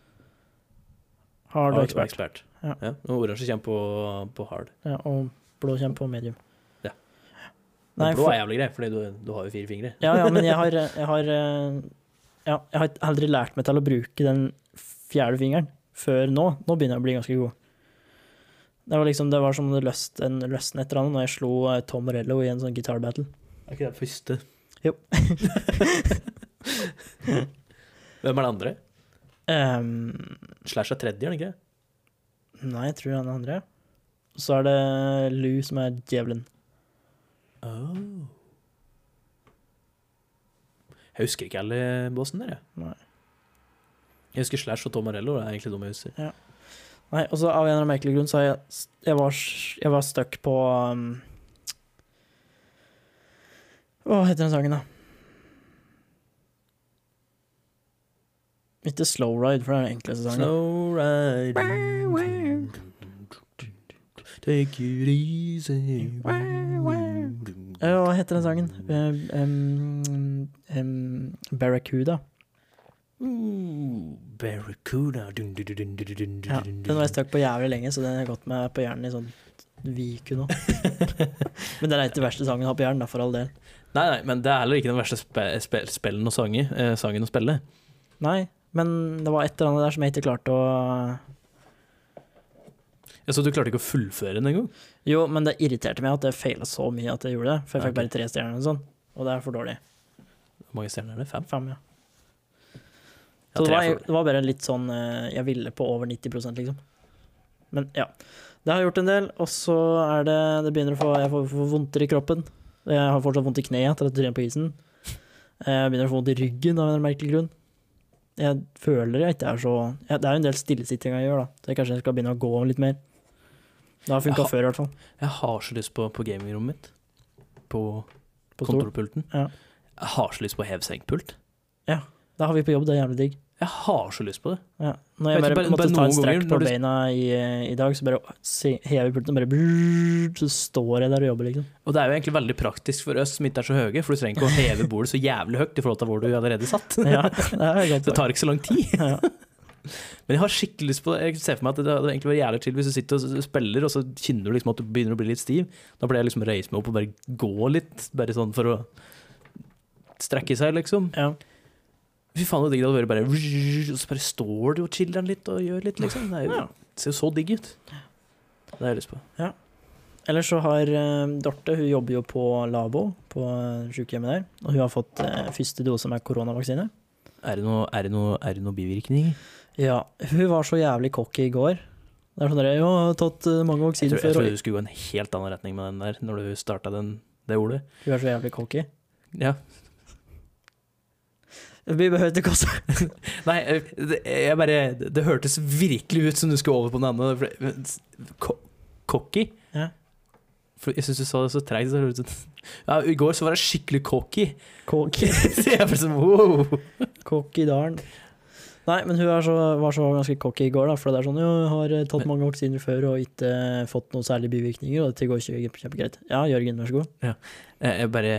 hard
Hard og
og
expert.
ekspert.
Ja.
Ja. og Oransje kommer på, på hard.
Ja, og blå kommer på medium.
Ja.
Nei,
Men blå
for,
er jævlig grei, fordi du, du har jo fire fingre.
ja, ja, men jeg har, jeg har eh, Ja, jeg har aldri lært meg til å bruke den fjerde fingeren før nå. Nå begynner jeg å bli ganske god. Det var liksom, det var som om det løst, en løsne et eller annet når jeg slo eh, Tom Morello i en sånn guitar battle.
Er ikke det første?
Jo.
Hvem er det andre?
Ehm,
Slash er tredje, er det ikke? det?
nei, jeg tror han er andre. Så er det Lou som er djevelen. Oh.
Jeg husker ikke alle bossen der, jeg.
Nei.
Jeg husker Slash og Tom Arello, det er egentlig de jeg husker.
Nei, og så av en eller annen merkelig grunn så har jeg Jeg var, jeg var stuck på um, Hva heter den sangen, da? Ikke Slow Ride, for det er den enkleste sangen.
Slow ride Take it easy Mm.
Eh, Hva heter den sangen? Eh, em, em, Barracuda.
Ooh, Barracuda dun, dun, dun, dun, dun, dun,
Ja,
dun,
den var jeg stuck på jævlig lenge, så den har gått meg på hjernen i sånn uke nå. Men det er ikke den verste sangen å ha på hjernen, da, for all del.
Nei, nei, men det er heller ikke den verste spe spe spillen å sange, eh, sangen å spille.
Nei, men det var et eller annet der som jeg ikke klarte å
Ja, så du klarte ikke å fullføre den engang?
Jo, men det irriterte meg at jeg feila så mye at jeg gjorde det, for jeg fikk
Ok.
bare tre stjerner og sånn, og det er for dårlig.
Hvor mange stjerner er det? Fem?
Fem, ja.
Ja,
Så det
tre
var,
er for dårlig.
det var bare litt sånn eh, Jeg ville på over 90 liksom. Men ja. Det har jeg gjort en del, og så er det Det begynner å få Jeg får, får vondter i kroppen. Jeg har fortsatt vondt i kneet etter at jeg trent på isen. Eh, Jeg begynner å få vondt i ryggen av en merkelig grunn. Jeg føler jeg ikke er så ja, Det er jo en del stillesittinger jeg gjør, da. Så jeg kanskje jeg skal begynne å gå litt mer. Det har funka
Jaha.
før, i hvert fall.
Jeg har så lyst på, på gamingrommet mitt. På,
På stol.
kontorpulten.
Ja.
Jeg har så lyst på hevsenkpult.
Da har vi på jobb, det er jævlig digg.
Jeg har så lyst på det.
Ja. Når jeg
Vet du,
bare,
bare-
måtte
bare
ta en
noen
strekk
ganger
på
når du-
beina i, eh, i dag, så bare se- hever jeg pulten og bare brrrr, Så står jeg der og jobber, liksom.
Og det er jo egentlig veldig praktisk for oss som ikke er så høye, for du trenger ikke å heve bordet så jævlig høyt i forhold til hvor du allerede satt.
Ja, det er et
Det
godt poeng.
tar ikke så lang tid.
Ja.
Men jeg har skikkelig lyst på det. Jeg ser for meg at det hadde egentlig vært jævlig chill hvis du sitter og spiller, og så kjenner du liksom at du begynner å bli litt stiv. Da pleier jeg liksom å reise meg opp og bare gå litt, bare sånn for å strekke seg, liksom.
Ja.
Fy faen, så digg det hadde vært bare Og så bare står du og chiller'n litt og gjør litt, liksom. Det er jo,
Ja.
ser jo så digg ut. Det har jeg lyst på.
Ellers så har eh, Dorte Hun jobber jo på Labo, på eh, sykehjemmet der. Og hun har fått eh, første dose med koronavaksine.
Er det noe, er det noe, er det noe bivirkninger?
Ja, hun var så jævlig cocky i går. Det er sånn der, jo, jeg har tatt eh, mange
Jeg
vaksiner
tror, jeg
før,
tror du
og
skulle gå en helt annen retning med den der, når du starta den, det ordet.
hun er så jævlig cocky.
Ja.
Vi behøver ikke også
Nei, eh, det, jeg bare Det det hørtes virkelig ut som du skulle over på den andre. for- men s- ko- Cocky?
Ja.
For jeg syns du sa det så treigt. så hørtes det ut som- Ja, I går så var jeg skikkelig cocky.
cocky.
Så jeg ble sånn wow!
Cocky darn. Nei, men hun er så, var så ganske cocky i går, da, for det er sånn jo, jeg har eh, tatt
Men-
mange vaksiner før og ikke eh, fått noen særlige bivirkninger, og dette går kjempe- kjempegreit. Ja, Jørgen, vær så god.
Eh, Jeg bare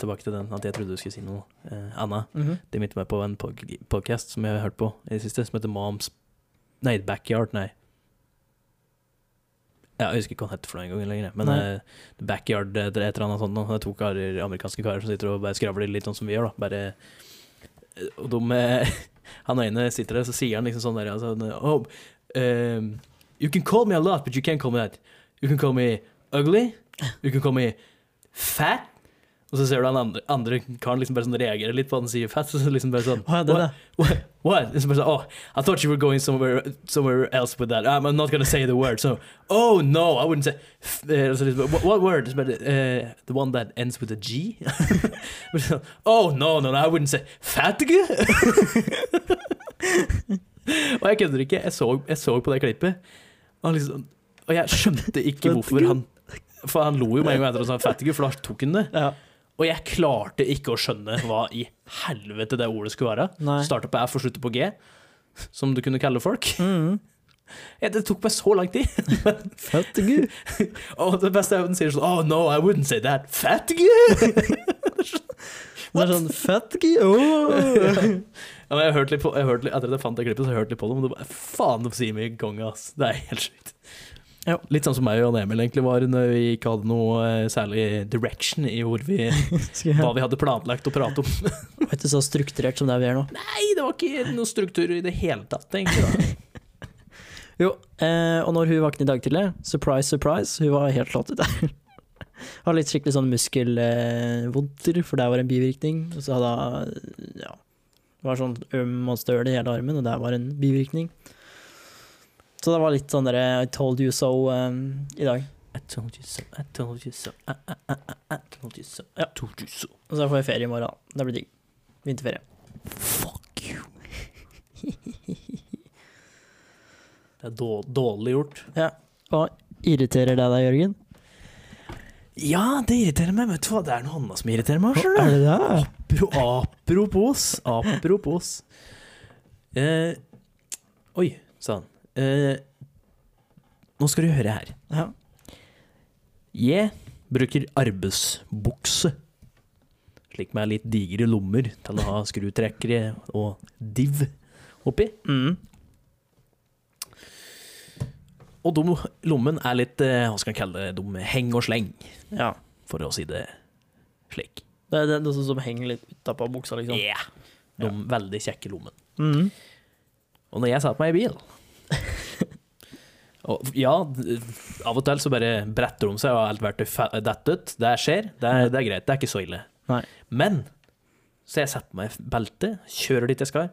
tilbake til den at jeg trodde du skulle si noe eh, annet. Det minte meg på en podkast som jeg har hørt på i det siste, som heter Moms Nei, Backyard, nei. Ja, jeg husker ikke hva den heter for noe engang lenger. Men
Nei.
eh, Backyard eh, et eller annet sånt. nå. Det er to karer, amerikanske karer som sitter og bare skravler litt sånn som vi gjør. da. Bare, eh, og de, eh, han ene sitter der, så sier han liksom sånn der altså, oh, um, You can call me a lot, but you can't call me that. You can call me ugly. You can call me fat. Og så ser du han andre, andre karen liksom bare sånn reagerer litt på at han sier fat. Så liksom bare sånn
Å, ja, det,
What?
da.
What? What? It's supposed to- oh, I thought you were going somewhere somewhere else with that. I'm, I'm not gonna say the word. So, oh no, I wouldn't say. f- eh, so this- what, what word? It's about, uh, the one that ends with a G. oh no, no, no, I wouldn't say fattige. og jeg kødder ikke. Jeg så, jeg så på det klippet, og, han liksom, og jeg skjønte ikke hvorfor han For han lo jo med en gang etter at han sa fattige, for da tok han det.
Ja.
Og jeg klarte ikke å skjønne hva i helvete det ordet skulle være.
Nei.
Starta på F og slutta på G, som du kunne kalle folk.
Mhm.
Ja, Det tok meg så lang tid.
Fødte gud.
Og det beste er at den sier sånn Oh no, I wouldn't say that. Fat G!
Det er sånn fett gud. Åh.
Ja, men jeg hørte litt på, jeg hørte litt, etter at jeg fant det klippet, så hørte jeg litt på det, men det var faen de sier mye ganger, ass. Det er helt sjukt.
Ja.
Litt sånn som meg og Jan Emil egentlig var når vi ikke hadde noe eh, særlig direction i hvor vi,
Skal
hva
jeg-
vi hadde planlagt å prate om.
Det var ikke så strukturert som det vi er nå.
Nei, det var ikke noe struktur i det hele tatt, egentlig. Da.
Jo, eh, og når hun våknet i dag tidlig, surprise, surprise, hun var helt slått ut der. Har litt skikkelig sånn muskelvondter, eh, vondter, for der var en bivirkning. Og så hadde hun ja, det var sånn øm og støl i hele armen, og der var en bivirkning. Så det var litt sånn derre I told you so um, i dag.
I told you so, I told you so, I, I, I, I, I told you so, I told you so.
Og så får jeg ferie i morgen. Det blir digg. Vinterferie.
Fuck you. Det er dår- dårlig gjort.
Irriterer det deg, Jørgen?
Ja, det irriterer meg. Vet du hva, det er noe annet som irriterer meg. skjønner du?
Er det det?
Apro- Apropos, apropos. Eh, oi, sa han. Eh, nå skal du høre her.
Ja.
Jeg bruker arbeidsbukse. Slik med litt digre lommer til å ha skrutrekkere og div oppi.
Mm.
Og de lommen er litt, eh, hva skal en kalle det, de heng og sleng,
ja.
for å si det slik.
Det er det, det er sånn som henger litt utapå buksa, liksom.
Yeah. De veldig kjekke lommen.
Mhm.
Og når jeg satt meg i bil og Ja, d- av og til så bare bretter de seg og alt verktøy fe- detter ut. Det skjer. Det er, det er greit. Det er ikke så ille.
Nei.
Men så jeg setter meg i beltet, kjører dit jeg skal,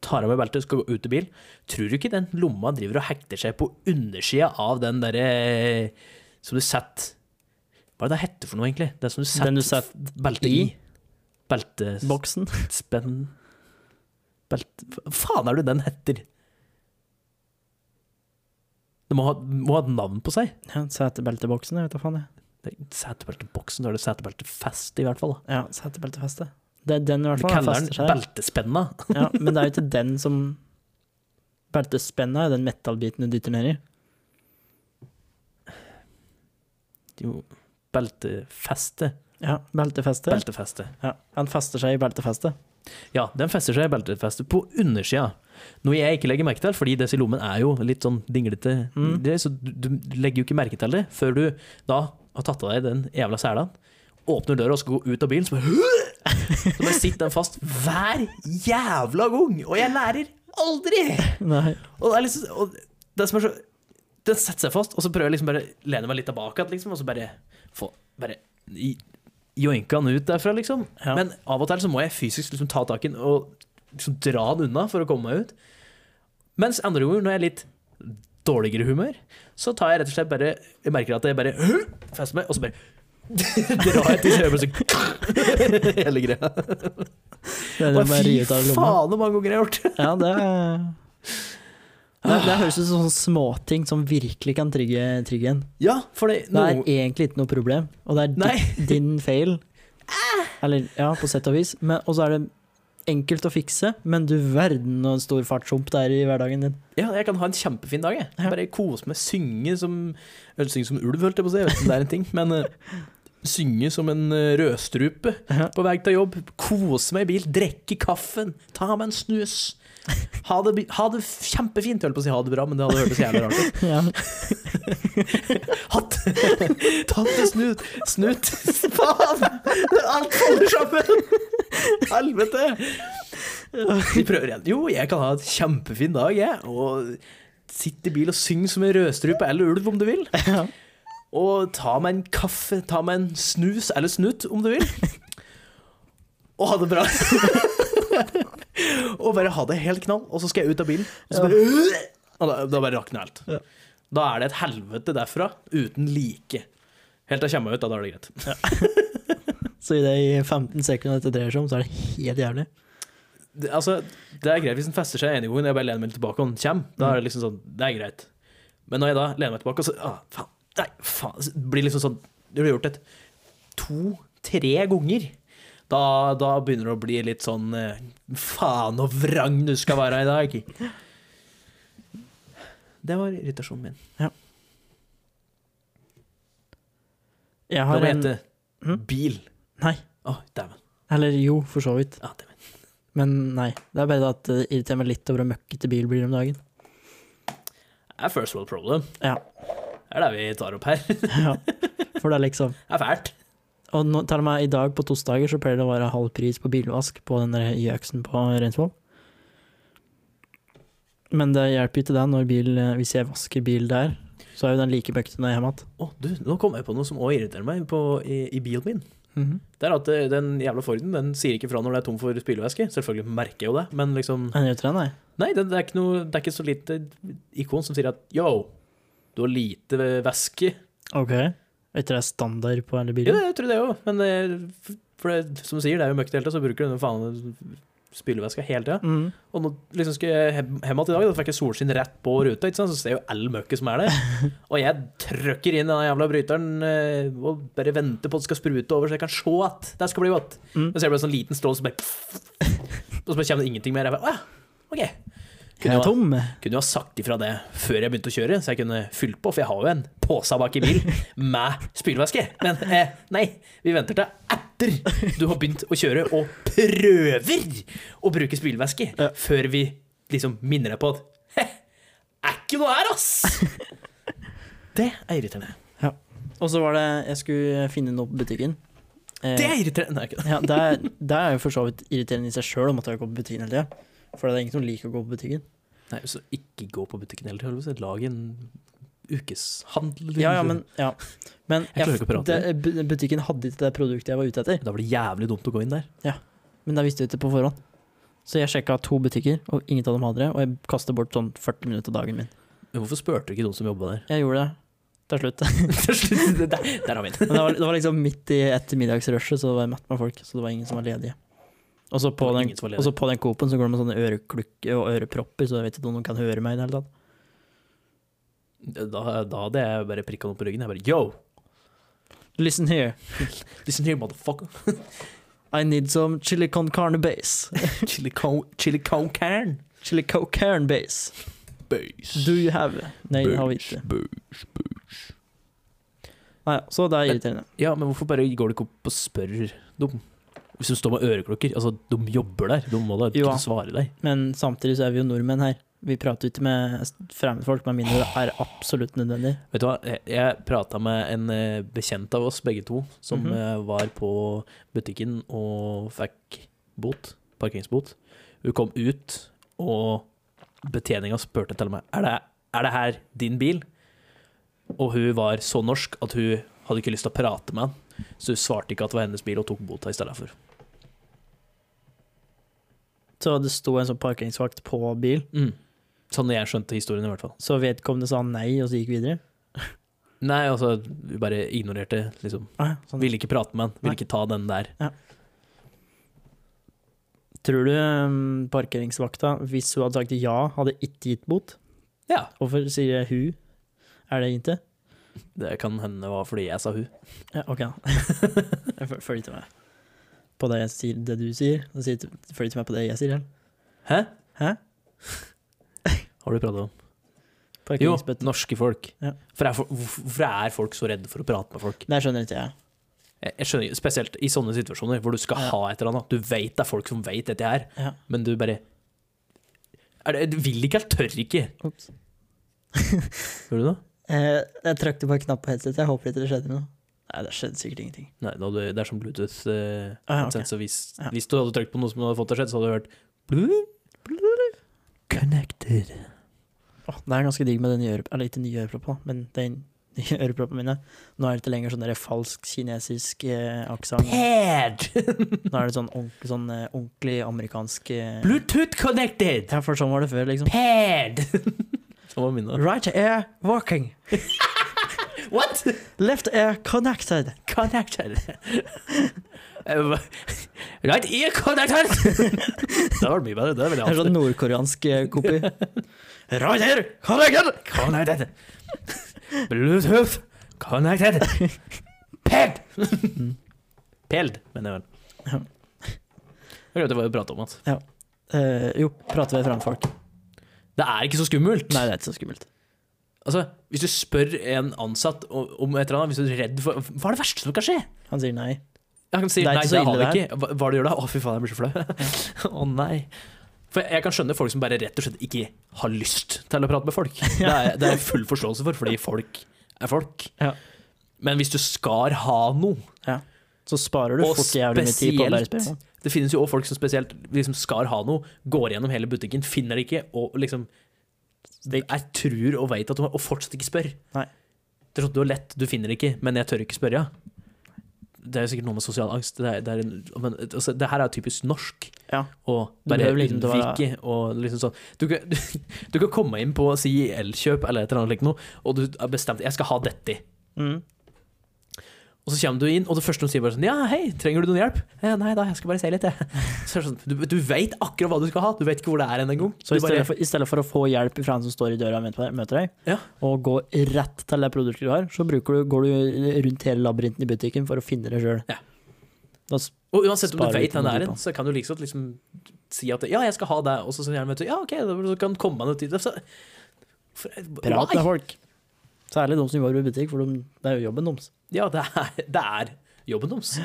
tar av meg beltet, skal gå ut i bil. Tror du ikke den lomma driver og hekter seg på undersida av den derre som du setter Hva er det det heter for noe, egentlig? Det som du setter,
Den du setter
beltet i?
i?
Beltes...
Boksen.
Spenn Belt Hva faen er det den heter? Det må ha, må ha et navn på seg.
Ja, Setebelteboksen, jeg vet da faen, jeg.
Det er Setebelteboksen, da er det setebeltefest, i hvert fall. da.
Ja, setebeltefeste. Det er den, i hvert
Vi
fall. den
kaller
fester
den
seg.
beltespenna.
ja, men det er jo ikke den som Beltespenna er den metallbiten du dytter ned i.
Jo, beltefeste.
Ja, beltefeste.
Beltefeste.
ja, han fester seg i beltefestet.
Ja, den fester seg i beltefestet på undersida. Noe jeg ikke legger merke til, fordi disse lommen er jo litt sånn dinglete,
Mm.
det, så du, du legger jo ikke merke til det før du da har tatt av deg den jævla selen, åpner døra og skal gå ut av bilen, så bare Så bare sitter den fast hver jævla gang! Og jeg lærer aldri!
Nei.
Og det er liksom og det som er så Den setter seg fast, og så prøver jeg liksom bare å lene meg litt tilbake igjen, liksom, og så bare få Bare i- joinka den ut derfra, liksom.
Ja.
Men av og til så må jeg fysisk liksom ta tak i den og liksom dra den unna for å komme meg ut. Mens andre ganger, når jeg er litt dårligere humør, så tar jeg rett og slett bare Jeg merker at jeg bare fester meg, og så bare drar jeg til høyre, så Hele greia.
Det er det
Og
bare å
Fy
ri ut av lomma.
faen, hvor mange ganger jeg har gjort det!
Ja, det er- det, det høres ut som sånne småting som virkelig kan trygge, trygge en.
Ja, for det,
Det er
noen-
egentlig ikke noe problem, og det er
Nei.
di- din feil. Eller, ja, på sett og vis. Men- Og så er det enkelt å fikse, men du verden og en stor fartshump det er i hverdagen din.
Ja, jeg kan ha en kjempefin dag, jeg.
Ja.
Bare kose meg, synge som eller Synge som ulv, holdt jeg på å si, jeg vet ikke om det er en ting, men eh, synge som en eh, rødstrupe
Ja.
på vei til jobb. Kose meg i bil, drikke kaffen, ta meg en snus. Ha det, bi- ha det f- kjempefint. Jeg holdt på å si ha det bra, men det hadde hørtes jævlig rart ut.
Ja.
Hatt Tatt en snut. Snut. Faen! Alt faller sammen! Helvete! Vi prøver igjen. Jo, jeg kan ha en kjempefin dag, jeg. Og sitte i bil og synge som en rødstrupe eller ulv, om du vil.
Ja.
Og ta meg en kaffe, ta meg en snus eller snutt, om du vil. Og ha det bra. og bare ha det helt knall, og så skal jeg ut av bilen. Og så bare, og da, da bare rakner alt.
Ja.
Da er det et helvete derfra, uten like. Helt til jeg kommer meg ut, da, da er det greit.
Så i de 15 sekundene dette dreier seg om, så er det helt jævlig.
Det, altså, det er greit hvis den fester seg ene gangen, jeg bare lener meg litt tilbake, og den kommer. Da er det liksom sånn, det er greit. Men når jeg da lener meg tilbake, og så ah, faen, nei, faen, så blir det liksom sånn Det blir gjort et to-tre ganger. Da, da begynner det å bli litt sånn eh, Faen og vrang du skal være i dag. Det var irritasjonen min.
Jeg
Det
har
må
en
hete
Mhm.
bil.
Nei.
Å, dæven.
Eller jo, for så vidt.
Ja, dæven.
Men nei. Det er bare det at det irriterer meg litt over hvor møkkete bil blir om dagen.
Det er first world problem.
Ja.
Det er det vi tar opp her. Det
ja. For det er liksom
er fælt.
Og nå, til og med i dag på torsdager så pleier det å være halv pris på bilvask på den der Y-øksen på Reinsvoll. Men det hjelper ikke det når bil, hvis jeg vasker bil der, så er jo den like møkkete når jeg er hjemme igjen.
Å, du, nå kom jeg på noe som òg irriterer meg på, i, i bilen min. Det er at eh, den jævla Forden den sier ikke fra når det er tom for spylevæske. Selvfølgelig merker jeg jo det, men liksom
Den gjør ikke det, nei.
Nei, det, det, er ikke noe, det er ikke så lite ikon som sier at yo, du har lite væske.
Ok. Jeg tror det er standard på hele
Jo,
bilen.
jeg tror det òg, men det, er- for det, som du sier, det er jo møkkete hele tida, så bruker du den faen spylevæska hele tida.
Mm.
Og nå liksom skal jeg hem hjem igjen i dag, da fikk jeg solskinn rett på ruta, ikke sant? så ser jeg jo all møkket som er der. Og jeg trøkker inn den jævla bryteren eh, og bare venter på at det skal sprute over, så jeg kan se at det skal bli godt.
Mm.
Men så er det bare en sånn liten strål som bare Og så bare kommer det ingenting mer. Jeg bare, «Å ja, ok.
Jeg er
Kunne jo,
tom.
kunne jo ha sagt ifra det før jeg begynte å kjøre, så jeg kunne fylt på, for jeg har jo en pose bak i bil med spylevæske. Men eh, nei, vi venter til etter du har begynt å kjøre og prøver å bruke spylevæske,
Ja.
før vi liksom minner deg på at Heh, er ikke noe her, ass! Det er irriterende.
Og så var det Jeg skulle finne noe på butikken. Eh,
Det er irriterende. Nei, ikke det.
ja, det, er, det er jo for så vidt irriterende i seg sjøl å måtte gå på butikken hele tida. For det er ingen som liker å gå på butikken.
Nei, så ikke gå på butikken hele tida. altså. Lag en ukeshandel.
Ja, ja, men, ja. men
Jeg klarer ikke å prate.
det- bu- Butikken hadde ikke det produktet jeg var ute etter,
Da blir det jævlig dumt å gå inn der.
men det visste jeg ikke på forhånd. Så jeg sjekka to butikker, og ingen av dem hadde det. Og jeg kastet bort sånn 40 minutter av dagen min.
Men Hvorfor spurte du ikke noen som jobba der?
Jeg gjorde det til slutt.
Til slutt, der, der har vi den.
Men det var, det var liksom midt i ettermiddagsrushet, så det var matt med folk. Så det var ingen som var ledige. Og så på
Det var
den,
ingen som var ledig.
og så på den Coop-en så går det med sånne øreklukke og ørepropper, så jeg vet ikke om noen kan høre meg i det hele tatt.
Da, da hadde jeg bare prikka noe på ryggen. Jeg bare yo,
Listen here,
listen here, motherfucker.
I need some chili con carne base.
Chili con, chili con can.
Chili con carne base.
Base.
Do you have Nei, det har vi ikke. Nei, ja, så det er irriterende.
Ja, men hvorfor bare går du ikke opp og spør dem? Hvis du står med øreklokker, altså, de jobber der. De må da
Jo.
kunne svare deg.
Men samtidig så er vi jo nordmenn her. Vi prater jo ikke med fremmedfolk, med mindre det er absolutt nødvendig.
Vet du hva, jeg, jeg prata med en eh, bekjent av oss begge to, som
Mhm.
eh, var på butikken og fikk bot, parkeringsbot. Hun kom ut, og betjeninga spurte til meg er det, er det her din bil. Og hun var så norsk at hun hadde ikke lyst til å prate med han, så hun svarte ikke at det var hennes bil, og tok bota i stedet for.
Så det sto en sånn parkeringsvakt på bil,
Mm. Sånn jeg skjønte historien, i hvert fall.
så vedkommende sa nei, og så gikk videre.
Nei, altså, vi bare ignorerte, liksom.
Ah, sånn.
Ville ikke prate med han,
Nei.
ville ikke ta den der.
Tror du um, parkeringsvakta, hvis hun hadde sagt ja, hadde ikke gitt bot?
Ja,
Hvorfor sier jeg hun? Er det ikke?
det kan hende var fordi jeg sa hun.
Ja, ok. Jeg føl- følger ikke med på det, jeg sier, det du sier. og sier ikke- Følger ikke med på det jeg sier. eller?
Hæ?
Hæ?
Har du pratet om? Jo,
Parkeringsbøtte.
norske folk.
Ja.
For er, fo- hvorfor hvorfor er folk så redde for å prate med folk?
Det skjønner ikke jeg.
Jeg, jeg skjønner ikke, Spesielt i sånne situasjoner hvor du skal
Ja.
ha et eller annet. Du vet det er folk som vet dette her,
Ja.
men du bare er det, Du vil ikke, eller tør ikke.
Ops.
Gjorde du det?
Eh, jeg trykte på en knapp på headsetet. Jeg håper ikke det skjedde noe. Nei, det skjedde sikkert ingenting.
Nei, da hadde, det er som Bluetooth. Eh,
Ah, ja, ok.
headset, så hvis,
Ja.
hvis du hadde trykt på noe som hadde fått det skjedd, så hadde du hørt blu- blu- Connected.
Åh, det er ganske digg med den nye øreproppen, eller ikke nye øreproppen, da, men den nye øreproppen mine. Nå er det ikke lenger sånn der falsk kinesisk eh, aksent.
Paired!
Nå er det sånn, ordentlig- sånn eh, ordentlig amerikansk eh,
Bluetooth connected!
Ja, for sånn var det før, liksom.
Paired! Sånn var min, da.
Right air walking,
What?
left air connected.
Connected. Eh, right ear connected! det var mye bedre. Det ville
Det er
jeg
sånn
hatt.
nordkoreansk eh, kopi. Right air connected.
Connected. Bluetooth connected. Paired! Peld, mener jeg
Ja.
vel. Jeg glemte hva vi pratet om. Altså.
Eh, jo, prater vi foran folk.
Det er ikke så skummelt.
Nei, det er ikke så skummelt.
Altså, Hvis du spør en ansatt o- om et eller annet, hvis du er redd for Hva er det verste som kan skje?
Han sier nei.
Jeg kan si
Det er
nei,
ikke så
det har
ille,
vi ikke. Hva, hva er det du gjør da? Å, fy faen, jeg blir så flau. Å nei. For jeg kan skjønne folk som bare rett og slett ikke har lyst til å prate med folk. Det er det er jeg full forståelse for, fordi folk er folk.
Ja.
Men hvis du skal ha noe
Så sparer du
Og
fort jævlig mye tid på å være
spesielt-
spesiell.
Det finnes jo også folk som spesielt liksom skal ha noe, går gjennom hele butikken, finner det ikke, og liksom Jeg tror og veit at du har Og fortsatt ikke spør.
Nei.
Det er sånn, du har lett, du finner det ikke, men jeg tør ikke spørre. Ja. Det er jo sikkert noe med sosial angst. Det, er, det, er en, men, altså, det her er jo typisk norsk.
Ja.
Og
Du
bare
behøver liksom ikke være-
unnvike og liksom sånn du kan, du, du kan komme inn på si Elkjøp eller et eller annet likt noe, og du har bestemt 'jeg skal ha dette'.
Mm.
Og så kommer du inn, og det første de sier bare sånn 'Ja, hei, trenger du noen hjelp?' «Eh, 'Nei da, jeg skal bare se litt, jeg'. Så er det sånn, du, du vet akkurat hva du skal ha, du vet ikke hvor det er engang.
Så i stedet, for, i stedet for å få hjelp fra han som står i døra og venter på deg- møter deg,
Ja.
og gå rett til det produktet du har, så bruker du, går du rundt hele labyrinten i butikken for å finne det sjøl.
Ja.
Ja.
Og uansett om du
Sparer
vet
litt
hvem det er,
energi på.
så kan du liksom, liksom si at 'ja, jeg skal ha det', og så sånn gjerne vet du 'ja, ok', da kan du komme deg noe tid. Så, for,
Prat
Why?
med folk. Særlig de som jobber i butikk, for de, det er jo jobben deres.
Ja, det er, det er jobben deres.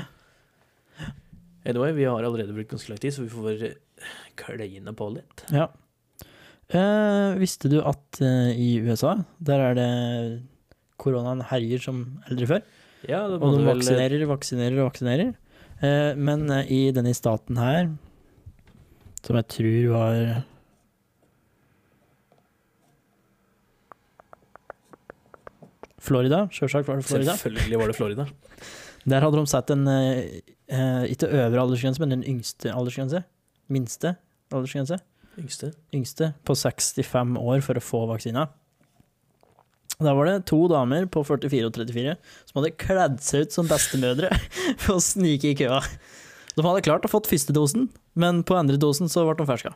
Anyway, vi har allerede brukt ganske lang tid, så vi får eh, kleine på litt.
Ja. Eh, visste du at eh, i USA, der er det koronaen herjer som aldri før?
Ja, det eh,
Og de vaksinerer, vaksinerer og vaksinerer. Eh, men eh, i denne staten her, som jeg tror var Florida, sjølsagt var det Florida.
Selvfølgelig var det Florida.
Der hadde de satt en eh, eh, ikke øvre aldersgrense, men den yngste aldersgrense. Minste aldersgrense.
Yngste.
Yngste på 65 år for å få vaksina. Da var det to damer på 44 og 34 som hadde kledd seg ut som bestemødre for å snike i køa. De hadde klart å fått første dosen, men på andre dosen så ble de ferska.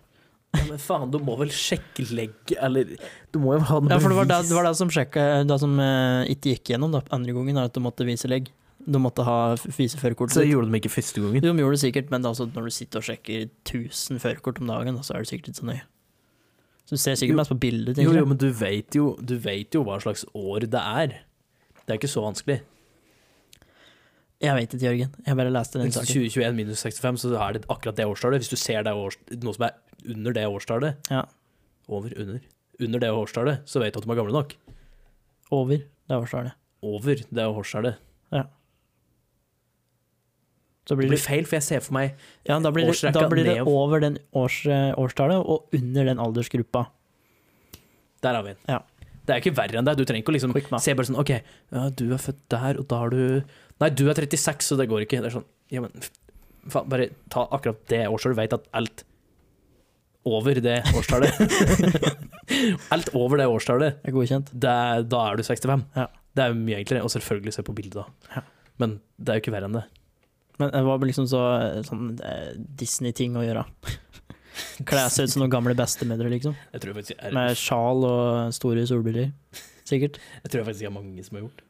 Ja, men faen, du må vel sjekklegge, eller Du må jo ha noe
Ja, for det var det, det, var det som, sjekka, det som eh, ikke gikk gjennom da, andre gangen, da, at de måtte vise legg. De måtte ha f- vise førerkortet
Så
sitt.
gjorde de ikke første gangen.
De gjorde det sikkert, men det er altså når du sitter og sjekker 1000 førerkort om dagen, så er det sikkert ikke så nøye. Så du ser
Jo.
sikkert mest på bildet.
Jo,
tenker
jo,
jeg.
men du vet jo, du vet jo hva slags år det er. Det er ikke så vanskelig.
Jeg vet ikke, Jørgen. Jeg bare leste den saken.
2021 minus 65, så er det akkurat det årstallet. Hvis du ser det års, noe som er under det årstallet
Ja.
Over, under. Under det årstallet, så vet du at de er gamle nok.
Over. Det er årstallet.
Over det årstallet.
Så
Det
blir
blir
det,
feil, for jeg ser for meg
ja, da blir det, da
årsrekka
blir det
ned.
over den års, eh, årstallet og under den aldersgruppa.
Der har vi den.
Ja.
Det er ikke verre enn det. Du trenger ikke å liksom
Quick math.
se bare sånn OK, ja, du er født der, og da har du Nei, du er 36, så det går ikke. Det er sånn Ja, men f- faen, bare ta akkurat det årstallet. Du vet at alt over det årstallet Alt over det årstallet,
Det er godkjent.
det, er- da er du 65.
Ja.
Det er jo mye enklere, og selvfølgelig se på bildet, da.
Ja.
Men det er jo ikke verre enn det.
Men det var liksom så sånn eh, Disney-ting å gjøre. Kle seg ut som noen gamle bestemødre, liksom.
Jeg tror faktisk jeg,
Med
er,
sjal og store solbriller. Sikkert.
jeg tror faktisk jeg har mange som har gjort det.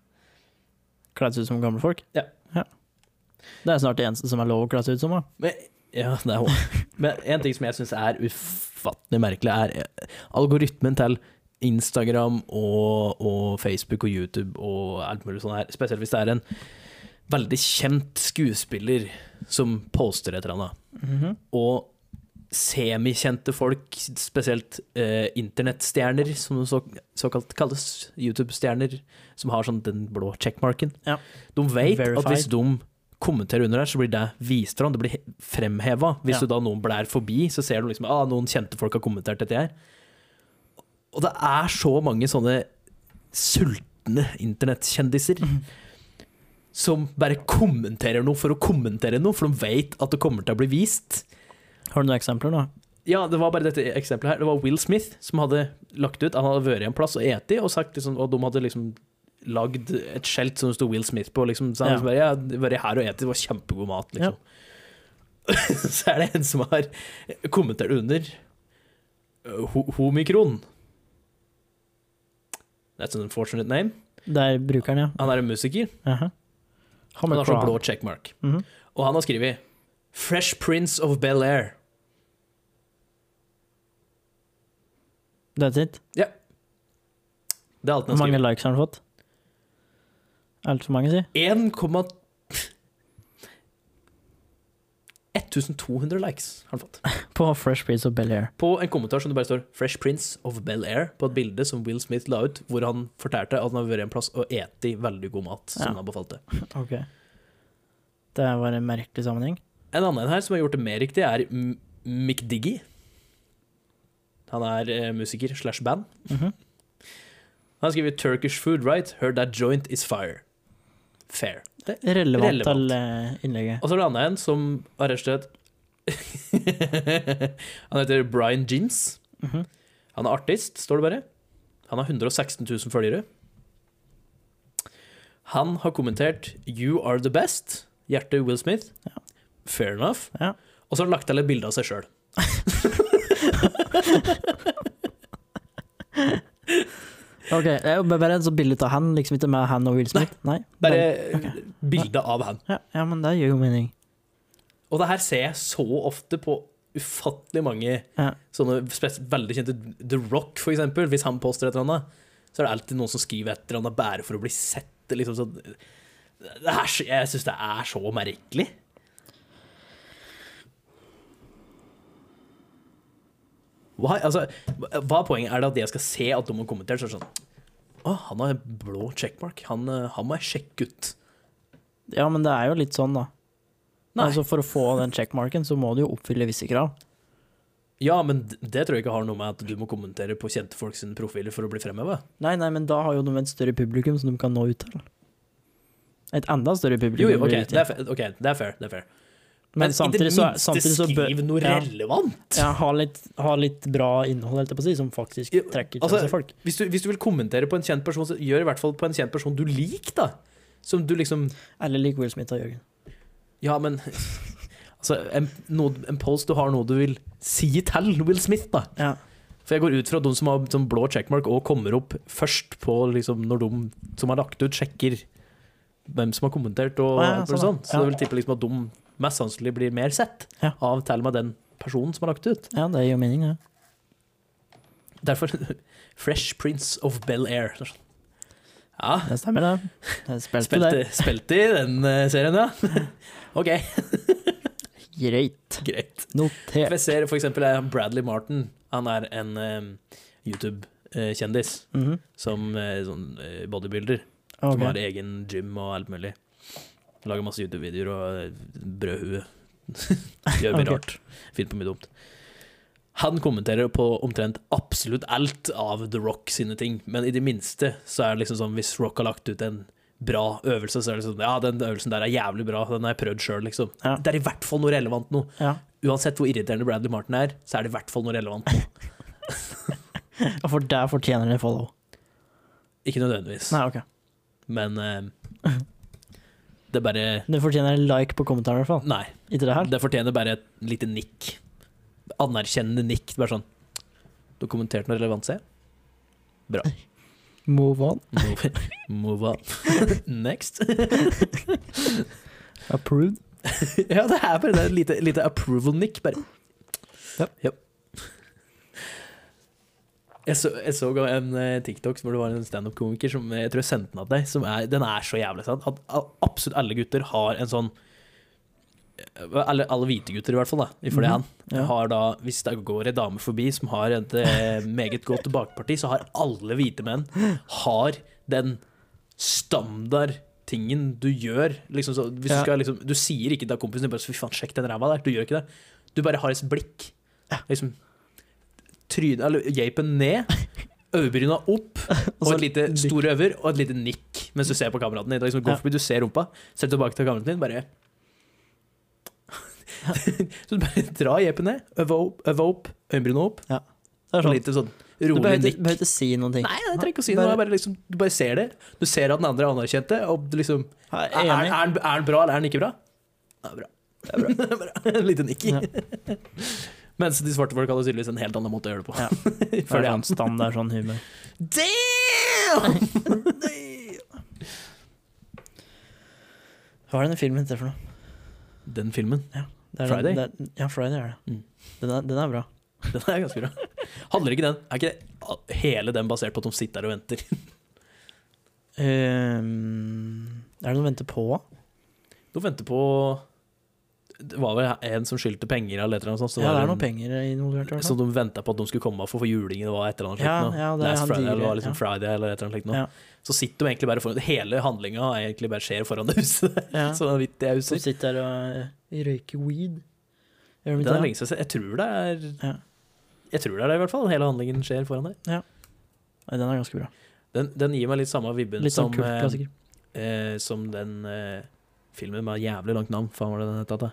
Kledd seg ut som gamle folk.
Ja.
Det er snart det eneste som er lov å kle seg ut som. da.
Men, ja, det er hårdt. Men en ting som jeg syns er ufattelig merkelig, er eh, algoritmen til Instagram og, og Facebook og YouTube og alt mulig sånt her. Spesielt hvis det er en veldig kjent skuespiller som poster et eller annet. Og semikjente folk, spesielt eh, internettstjerner, som så, såkalt kalles, YouTube-stjerner, som har sånn den blå checkmarken.
Ja.
De vet at
Verified.
hvis de kommenterer under der, så blir det vist fram, det blir he- fremheva. Hvis
Ja.
du da noen blær forbi, så ser du liksom ah, noen kjente folk har kommentert dette her. Og det er så mange sånne sultne internettkjendiser som bare kommenterer noe for å kommentere noe, for de vet at det kommer til å bli vist.
Har du noen eksempler, da?
Ja, det var bare dette eksempelet her. Det var Will Smith som hadde lagt ut. Han hadde vært i en plass og eti, og, sagt liksom, og de hadde liksom lagd et skjelt som det sto Will Smith på. Liksom. Så han
Ja.
liksom bare, ja, det var her og eti, det var kjempegod mat, liksom. Så er det en som har kommentert under eh, ho homikron. That's an unfortunate name.
Der bruker den, ja.
Han er en musiker.
Jaha.
Han har sånn
Omicron.
blå checkmark.
Mhm.
Og han har skrevet 'Fresh Prince of Bel-Air'.
That's it.
Det er alt han
Hvor
har
mange
skrevet.
likes har han fått? Altfor mange, si.
1, 1200 likes har han fått.
På Fresh Prince of Bel-Air.
På en kommentar som det bare står 'Fresh Prince of Bel-Air' på et bilde som Will Smith la ut, hvor han fortalte at han har vært en plass og eti veldig god mat, som
Ja.
han har befalt det.
Ok. Det var en merkelig sammenheng.
En annen her som har gjort det mer riktig, er M- Mick Diggy. Han er eh, musiker slash band.
Mhm.
Han skriver 'Turkish food right, heard that joint is fire'. Fair.
Relevant,
Relevant.
til eh, innlegget.
Og så er det en annen en som har rett og slett Han heter Brian Jeans.
Mhm.
Han er artist, står det bare. Han har 116 000 følgere. Han har kommentert 'You are the best', hjerte Will Smith.
Ja.
Fair enough.
Ja.
Og så har han lagt til et bilde av seg sjøl.
Ok, det er jo bare et sånt bilde av han, liksom ikke med han og Will Smith. Nei.
Bare bilde av han.
Ja, ja, men det gir jo mening.
Og det her ser jeg så ofte på ufattelig mange
Ja.
sånne spes- veldig kjente The Rock, for eksempel. Hvis han påstår et eller annet, så er det alltid noen som skriver et eller annet bare for å bli sett. det er Liksom, så, det er, så- jeg syns det er så merkelig. Hva, altså, hva er poenget? Er det at jeg skal se at de har kommentert? Så er det sånn Å, han har en blå checkmark. Han, eh, han må jeg sjekke ut.
Ja, men det er jo litt sånn, da.
Nei.
Altså, for å få den checkmarken, så må du jo oppfylle visse krav.
Ja, men d- det tror jeg ikke har noe med at du må kommentere på kjente folk sine profiler for å bli fremheva.
Nei, nei, men da har jo de et større publikum som de kan nå ut til. Et enda større publikum.
Jo, jo, ok,
blir det
det er,
til.
fa- ok, det er fair. det er fair.
men samtidig så, samtidig så bør
skriv noe
ja.
relevant!
ja, ha litt, ha litt bra innhold, holdt jeg på å si, som faktisk
Jo,
trekker til
altså-
seg folk.
Hvis du, hvis du vil kommentere på en kjent person, så gjør i hvert fall på en kjent person du liker, da. Som du liksom
Eller lik Will Smith og Jørgen.
Ja, men Altså, en, noe, en post du har noe du vil si til Will Smith, da.
Ja.
For jeg går ut fra de som har sånn blå checkmark og kommer opp først på liksom når de som har lagt ut, sjekker hvem som har kommentert og
Å, ja,
alt mulig
sånn,
sånt.
ja.
Så jeg vil tippe liksom at de mest sannsynlig blir mer sett
Ja.
av til og med den personen som har lagt ut.
ja, det gir jo mening, det.
Derfor Fresh Prince of Bel-Air. Det er sånn. Ja,
Det stemmer, det. Jeg spilte,
spilte, spilte i den eh, serien, ja. OK,
det. Greit.
greit.
Notert.
Jeg ser for eksempel eh, Bradley Martin. Han er en eh, YouTube-kjendis
Mhm.
som eh, sånn eh, bodybuilder.
Ah, Ok.
Som har egen gym og alt mulig. Lager masse YouTube-videoer og eh, brødhue. Gjør mye
Ok.
rart. Finner på mye dumt. Han kommenterer på omtrent absolutt alt av The Rock sine ting, men i det minste så er det liksom sånn hvis Rock har lagt ut en bra øvelse, så er det sånn Ja, den øvelsen der er jævlig bra, den har jeg prøvd sjøl, liksom.
Ja.
Det er i hvert fall noe relevant nå.
Ja.
uansett hvor irriterende Bradley Martin er, så er det i hvert fall noe relevant.
Ja, For der fortjener den en follow.
Ikke nødvendigvis,
Nei, ok.
men eh, det er bare
Den fortjener en like på kommentaren i hvert fall.
Nei.
Ikke det her?
Det fortjener bare et lite nikk. Anerkjennende nikk. Bare sånn Du har kommentert noe relevant, ser jeg.
Move on.
Move, move on. Next.
Approved.
ja, det er bare det er et lite, lite approval-nikk. Bare
Yep.
Yep. Jeg så, jeg så en eh, TikTok hvor det var en standup-komiker som eh, jeg tror jeg sendte den av deg. Som er, den er så jævlig sant. At a- absolutt alle gutter har en sånn eh, alle, alle hvite gutter, i hvert fall, da, ifølge
Mhm.
han,
Ja.
har da, hvis det går ei dame forbi som har et eh, meget godt bakparti, så har alle hvite menn har den standardtingen du gjør. Liksom, så, hvis du,
Ja.
skal, liksom, du sier ikke til kompisen din bare, 'fy faen, sjekk den ræva der', du gjør ikke det. Du bare har et blikk. Liksom, trynet, eller geipen ned, øyebryna opp, og,
så
et lite
nikk.
stor øver, og et lite nikk mens du ser på kameraten din. Det er Liksom,
Ja.
går forbi, du ser rumpa, ser tilbake til kameraten din, bare Så du bare drar geipen ned, øve opp, øve opp øyenbryna opp,
Det er
og
sånn.
litt sånn
Du
rolig
behøver
nikk.
ikke- behøver ikke si noen ting.
Nei, jeg trenger ikke å si noe.
Bare-
jeg Bare liksom, du bare ser det. Du ser at den andre anerkjente, og du liksom
Jeg
Er
er
er-
enig.
er den er den bra, eller er den ikke bra? Ja, bra. Det er bra. En liten nikk.
Ja.
Mens de svarte folk hadde tydeligvis en helt annen måte å gjøre det på.
Ja.
Ifølge
det er
han.
sånn standard sånn humor.
Damn! Damn!
Hva er denne filmen heter for noe?
Den filmen,
Det er
Friday?
Den, det er, ja, Friday er det.
Mm.
Den, er, den er bra.
den er ganske bra. Handler ikke den Er ikke det- hele den basert på at de sitter og venter?
Ehm, er det noe å vente på?
De venter på Det var vel en som skyldte penger eller et eller annet sånt. så
ja,
var
det er
en-
noen penger involvert. i hvert fall.
Som de venta på at de skulle komme for, for julingen var et eller annet slikt.
Ja,
nå.
ja, det er
Last
han
Friday eller
digre,
var liksom
ja.
Friday eller et eller annet slikt. nå.
Ja.
Så sitter de egentlig bare foran Hele handlinga er egentlig bare skjer foran det huset. der.
Ja.
Så vidt jeg
Som
husker.
sitter der og eh, røyker weed. Gjør de
Det er
ikke det?
lenge siden. Jeg tror det er
Ja.
Jeg tror det er det, i hvert fall. Hele handlingen skjer foran deg.
Nei, den er ganske bra.
Den, den gir meg litt samme vibben
Litt sånn
som,
kult
eh,
klassiker.
eh, som den eh, filmen med jævlig langt navn. Faen, var det den het? da?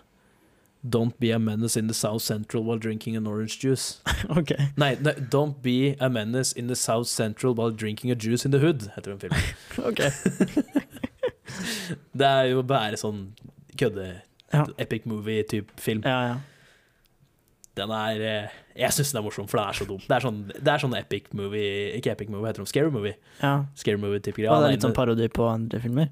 Don't be a menace in the South Central while drinking an orange juice.
Ok.
Nei, nei, Don't be a menace in the South Central while drinking a juice in the hood, heter den filmen.
Ok.
Det er jo bare sånn kødde
Ja.
epic movie-type film.
Ja, ja.
Den er eh, Jeg syns den er morsom, for det er så dumt. Det er sånn, det er sånn epic movie Ikke epic movie, heter det scary movie?
ja.
Scary movie-type
Og
greier.
det er litt sånn parodi på andre filmer?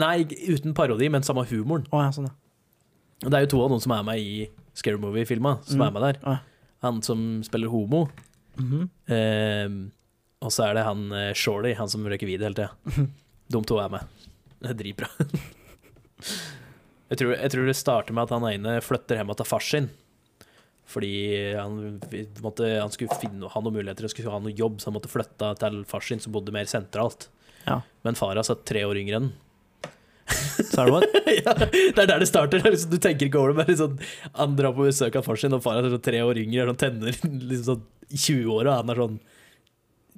Nei, uten parodi, men samme humoren.
Å ja, sånn, ja.
Og Det er jo to av noen som er med i scary movie-filma, som
Mm.
er med der.
Ah.
Han som spiller homo,
Mhm.
eh, og så er det han eh, Shorty, han som røyker weed hele tida. De to er med. Det er dritbra. Jeg tror, jeg tror det starter med at han ene flytter hjem til far sin. Fordi han, vi- måtte, han skulle finne, ha noen muligheter, han skulle ha noe jobb, så han måtte flytte til far sin, som bodde mer sentralt.
Ja.
Men far hans er tre år yngre enn han.
Sa du hva?
ja, Det er der det starter. Det er Liksom, du tenker ikke over det, men liksom, han drar på besøk av far sin, og far hans er sånn tre år yngre, og han tenner liksom sånn i 20-åra, og han er sånn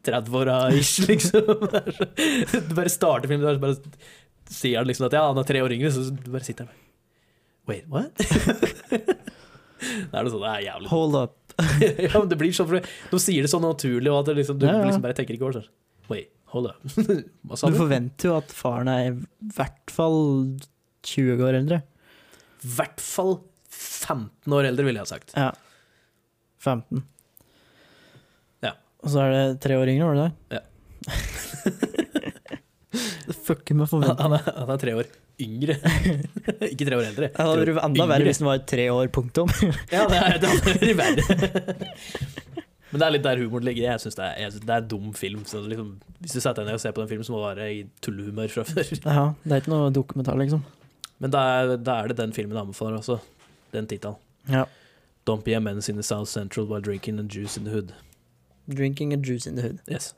30-åra ish, liksom. Det er så- Du bare starter filmen, og så bare sier han liksom at ja, han er tre år yngre, så du bare sitter der og Wait, what? Det er noe sånt, det er jævlig
Hold up.
ja, men det blir sånn, for de sier det så naturlig, og at det liksom, du
Ja, ja.
liksom bare tenker ikke over det. sånn, Wait, hold up. Hva sa
Du
du?
forventer jo at faren er i hvert fall 20 år eldre.
I hvert fall 15 år eldre, ville jeg ha sagt.
Ja. 15.
Ja.
Og så er det tre år yngre, var det det?
Ja.
det fucker med
Han,
forventninger.
han, er, han er tre år yngre. ikke tre år eldre.
Det hadde vært enda verre hvis den var tre år, punktum.
Ja, det er- det hadde vært verre. Men det er litt der humoren ligger. Jeg synes det, er, jeg synes det er dum film. Så liksom, hvis du setter deg ned og ser på den filmen, så må du være i tullehumør fra før.
Ja, det er ikke noe dokumentar, liksom.
Men da er, da er det den filmen jeg anbefaler også. Den tittelen.
Ja.
Don't be a menace in the South Central while drinking and juice in the hood.
'Drinking a juice in the hood'.
Yes.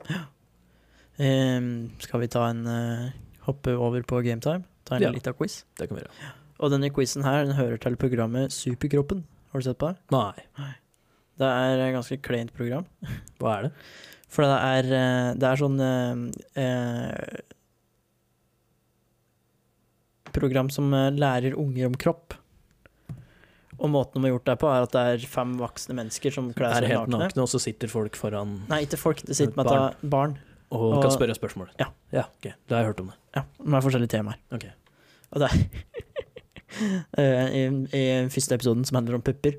Ehm, skal vi ta en eh, hoppe over på gametime? Ta en
Ja.
liten quiz?
Det kan vi gjøre.
Og denne quizen her den hører til programmet Superkroppen. Har du sett på det?
Nei,
Det er et ganske kleint program.
hva er det?
For det er, eh, det er sånn eh, eh, Program som eh, lærer unger om kropp. Og måten de har gjort det på, er at det er fem voksne mennesker som kler
Er
seg
helt
nakne.
nakne, og så sitter folk foran
Nei, ikke folk. Det sitter med
Barn.
at det er barn.
og,
Og-
kan spørre spørsmål.
Ja.
ok, Da har jeg hørt om det.
Ja, med forskjellige temaer.
Ok.
Og det er I, I første episoden, som handler om pupper,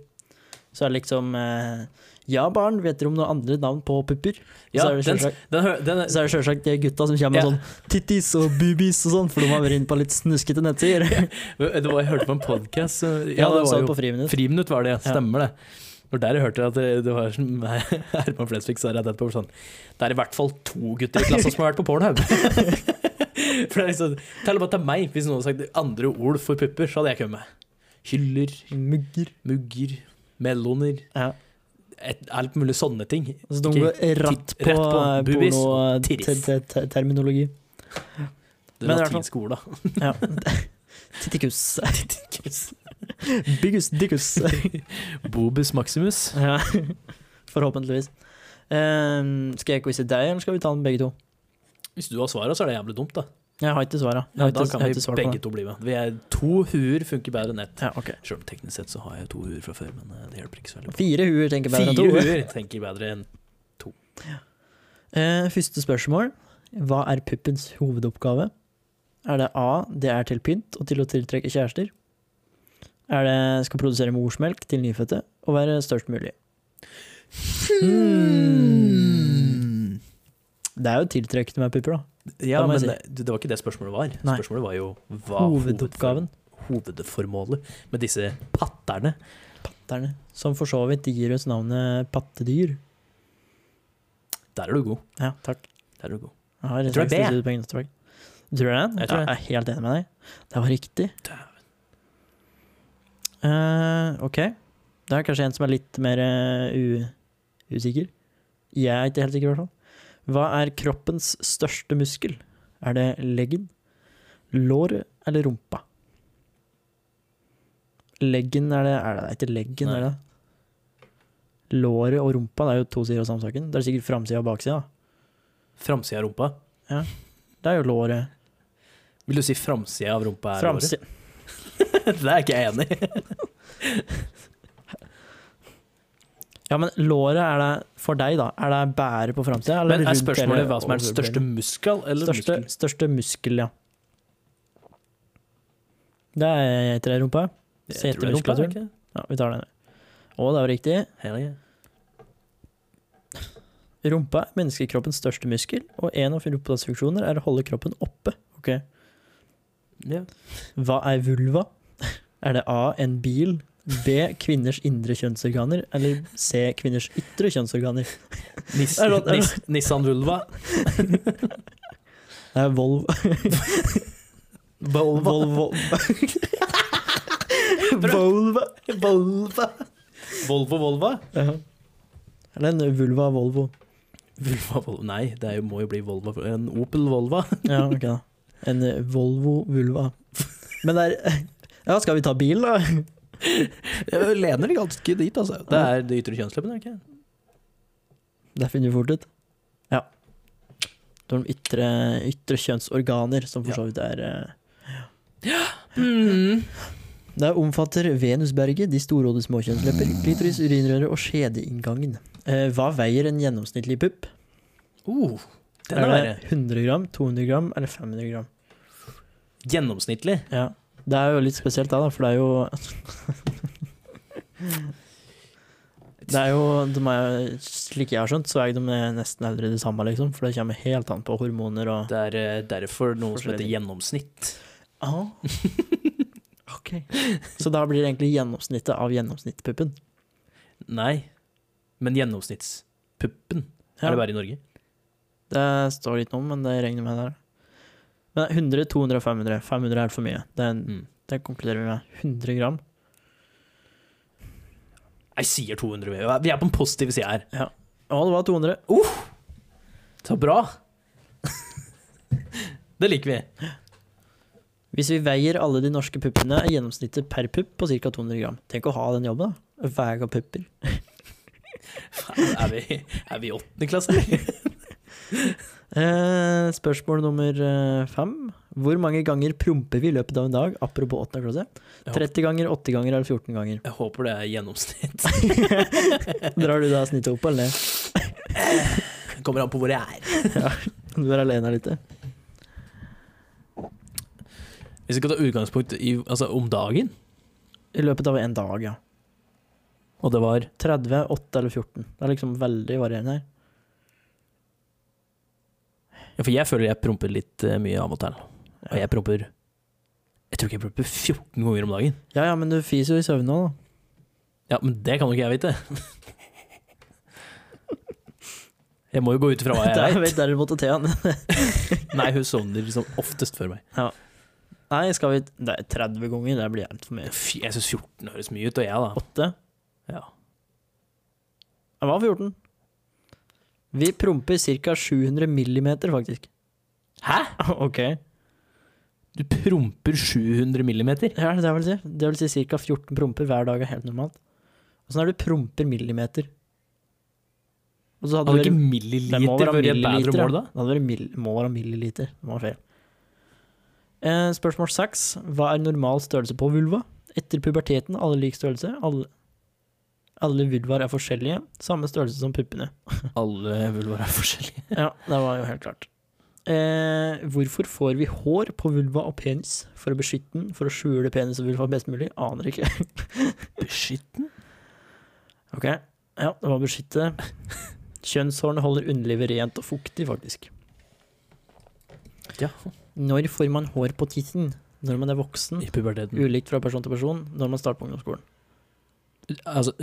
så er det liksom eh, Ja, barn, vet dere om noen andre navn på pupper?
Ja,
så er det
den-
selvsagt-
Den, hø- den,
så er det sjølsagt de gutta som kommer med
Ja.
sånn tittis og boobies og sånn, for de har vært inne på litt snuskete nettsider.
det var, jeg hørte på en podkast Ja,
Ja,
det var
sånn
jo
på friminutt.
Friminutt var det, ja. stemmer det. Og der jeg hørte jeg at det, det var sånn- nei, Herman Flesvig sa rett etterpå sånn Det er i hvert fall to gutter i klassen som har vært på Pornhub. For det er liksom Tell bare til meg, hvis noen hadde sagt andre ord for pupper, så hadde jeg kommet. Hyller,
Mugger.
mugger, meloner
Ja.
et, Alt mulig sånne ting.
Så de går rett
Titt-
på, eh,
rett på boobies og tiris.
porno-terminologi.
Det
Men i hvert fall-
latinske ordet.
Ja. Tittikus. Biggus dickus.
Bobus maximus.
Ja, forhåpentligvis. Ehm, skal jeg quize deg, eller skal vi ta den begge to?
Hvis du har svaret, så er det jævlig dumt, da.
Jeg har ikke svaret. Jeg
Ja,
har
da
ikke,
kan
jeg har
vi
ikke svar på
begge
det.
to bli med. Vi er to huer funker bedre enn ett.
Ja, ok.
Selv om teknisk sett så har jeg to huer fra før, men eh, det hjelper ikke så veldig. på.
Fire huer tenker bedre enn to.
Fire huer tenker bedre enn
Eh, første spørsmål. Hva er puppens hovedoppgave? Er det A. Det er til pynt og til å tiltrekke kjærester. Er det skal produsere morsmelk til nyfødte og være størst mulig. Hmm. Det er jo tiltrekkende med pupper, da.
Ja,
Da må
men
jeg
det, det var ikke det spørsmålet var.
Nei.
Spørsmålet var jo hva
Hovedoppgaven.
hovedfor- hovedformålet med disse patterne.
Patterne. Som for så vidt gir oss navnet pattedyr.
Der er du god.
Ja, takk.
Der er du god.
Jeg har
Jeg tror det er
det. Tror du det?
Jeg tror
ja,
det.
jeg er helt enig med deg. Det var riktig.
Dæven.
Eh, ok. Det er kanskje en som er litt mer eh, u usikker. Jeg er ikke helt sikker, i hvert fall. Hva er kroppens største muskel? Er det leggen, låret eller rumpa? Leggen er det Er det det er ikke leggen,
Nei.
er det? Låret og rumpa det er jo to sider av samme saken. Det er sikkert framsida og baksida. da.
Framsida av rumpa.
Det er jo låret.
Vil du si framsida av rumpa er
Framsi
håret? Det er ikke jeg enig i.
Ja, men låret er det for deg, da. Er det bære på framsida?
Men er spørsmålet hva som er den største muskel eller
største,
muskel?
største muskel, ja. Det er eterrumpa.
Jeg tror det er rumpa,
setemuskulaturen.
ikke det?
Ja, vi tar den. Å, det var riktig.
Hell yeah.
Rumpa er menneskekroppens største muskel, og en av rumpas funksjoner er å holde kroppen oppe. Ok.
Ja.
Hva er vulva? Er det A en bil, B kvinners indre kjønnsorganer, eller C kvinners ytre kjønnsorganer?
Nis,
Er det- er det-
nis, Nissan Vulva.
Det er Volvo. Volvo. Volvo.
Volva. Volvo Volva?
Ja. Eller en vulva Volvo.
Vulva Volvo Nei, det er jo, må jo bli Volva. En Opel Volva.
Ja, ok da. En eh, Volvo vulva. Men det er Ja, skal vi ta bil, da?
Jeg lener ganske dit, altså. Det er det ytre kjønnsleppene, er det ikke?
Det finner vi fort ut. Ja. Det var de ytre, ytre kjønnsorganer, som for så vidt er eh, Det omfatter venusberget, de storhodet småkjønnslepper, klitoris, urinrøret og skjedeinngangen. Eh, Hva veier en gjennomsnittlig pupp?
Oh, den
Er
er
det
verre.
100 gram, 200 gram eller 500 gram?
Gjennomsnittlig.
Ja. Det er jo litt spesielt, da, da, for det er jo Det er jo de er, Slik jeg har skjønt, så er de nesten aldri det samme, liksom. For det kommer helt an på hormoner og
Det er eh, derfor noe som heter
Forskjellig.
gjennomsnitt.
Ah. Ok. Så da blir det egentlig gjennomsnittet av gjennomsnittspuppen.
Nei, men gjennomsnittspuppen
Ja.
er det bare i Norge.
Det står litt noe om, men det regner med det. er. Men 100, 200 og 500. 500 er for mye. Det, er,
Mm.
det konkluderer vi med. 100 gram.
Jeg sier 200. vi- Vi er på den positive sida her.
Å, det var 200.
Så bra! det liker vi.
Hvis vi veier alle de norske puppene, er gjennomsnittet per pupp på ca. 200 gram. Tenk å ha den jobben, da. Vega pupper.
Faen, Er vi, er vi i åttende klasse, eller?
Eh, spørsmål nummer eh, fem. Hvor mange ganger promper vi i løpet av en dag? Apropos åttende klasse.
Ja.
30 ganger, 80 ganger eller 14 ganger?
Jeg håper det er gjennomsnitt.
Drar du da snittet opp, eller? ned?
Kommer an på hvor jeg er.
Du er alene her litt. eh?
Hvis vi skal ta utgangspunkt i altså, om dagen,
I løpet av en dag, ja.
og det var
30, 8 eller 14. Det er liksom veldig varierende her.
ja, For jeg føler jeg promper litt eh, mye av og til. Og jeg promper Jeg tror ikke jeg promper 14 ganger om dagen.
Ja ja, men du fiser jo i søvne òg, da.
Ja, men det kan jo ikke jeg vite. Jeg må jo gå ut ifra hva
Der
jeg vet.
vet derimot Thea.
Nei, hun sovner liksom oftest før meg.
Nei, skal vi Nei, 30 ganger, det blir helt for mye.
Fy, jeg syns 14 høres mye ut, og jeg, da.
8?
Ja.
Jeg var 14. Vi promper ca. 700 millimeter, faktisk.
Hæ?
Ok.
Du promper 700 millimeter?
Ja, det er vel det. Det vil si ca. 14 promper hver dag er helt normalt. Åssen er det du promper millimeter? Og så hadde
Hadde
det
ikke
vært-
milliliter
det må være
vært et
milliliter,
bedre
ja.
mål, da?
Det hadde vært mil, må være milliliter. Det var feil. Eh, spørsmål seks. Hva er normal størrelse på vulva? Etter puberteten, alle lik størrelse. Alle, alle vulvaer er forskjellige. Samme størrelse som puppene.
Alle vulvaer er forskjellige.
Ja, det var jo helt klart. Eh, hvorfor får vi hår på vulva og penis? For å beskytte den? For å skjule penis og vulva best mulig? Aner ikke.
Beskytten?
Ok, ja, det var beskytte. Kjønnshårene holder underlivet rent og fuktig, faktisk.
Ja.
Når får man hår på tissen? Når man er voksen?
I Mm. puberteten.
Ulikt fra person til person. Når man starter på ungdomsskolen.
Altså,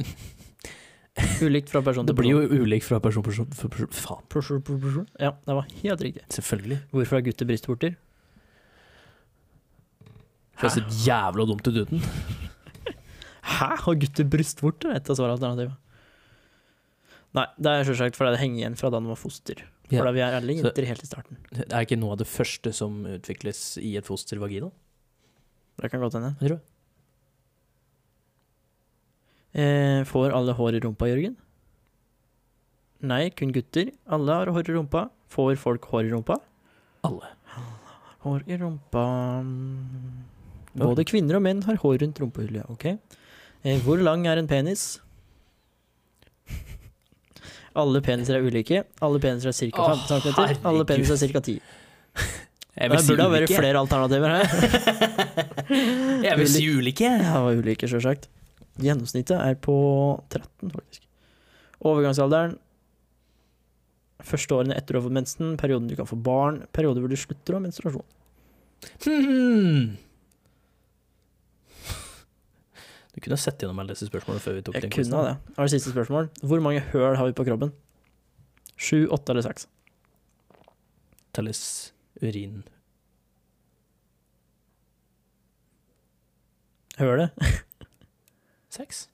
Ulikt fra person
det
til
blir jo
person.
ulik fra person til person, for person. Faen.
Person til person. Ja, det var helt riktig.
Selvfølgelig.
Hvorfor har gutter brystvorter?
Det ser jævla dumt ut uten.
Hæ, har gutter brystvorter? Et av svaralternativene. Nei, det er selvsagt fordi det henger igjen fra da de var foster.
Ja.
Fordi vi er alle
Så-
jenter helt i starten.
Det er ikke noe av det første som utvikles i et foster vagina?
Det kan godt hende.
Jeg tror.
Eh, får alle hår i rumpa, Jørgen? Nei, kun gutter. Alle har hår i rumpa. Får folk hår i rumpa?
Alle.
Hår i rumpa mm. Både kvinner og menn har hår rundt rumpehullet. Ok. Eh, hvor lang er en penis? Alle peniser er ulike. Alle peniser er ca.
Åh,
15 cm. Alle
herregud.
peniser er ca. 10.
Jeg
Det burde ha vært
ulike.
flere alternativer her.
Jeg vil si ulike.
Ja, det var ulike, sjølsagt. Gjennomsnittet er på 13, faktisk. Overgangsalderen Første årene etter å ha fått mensen, perioden du kan få barn, perioder hvor du slutter å ha menstruasjon.
Hmm. Du kunne ha sett gjennom alle disse spørsmålene før vi tok
Jeg
den
kunne det. Og det siste spørsmål. Hvor mange høl har vi på kroppen? Sju, åtte eller seks?
Telles urin
Hølet?
sex?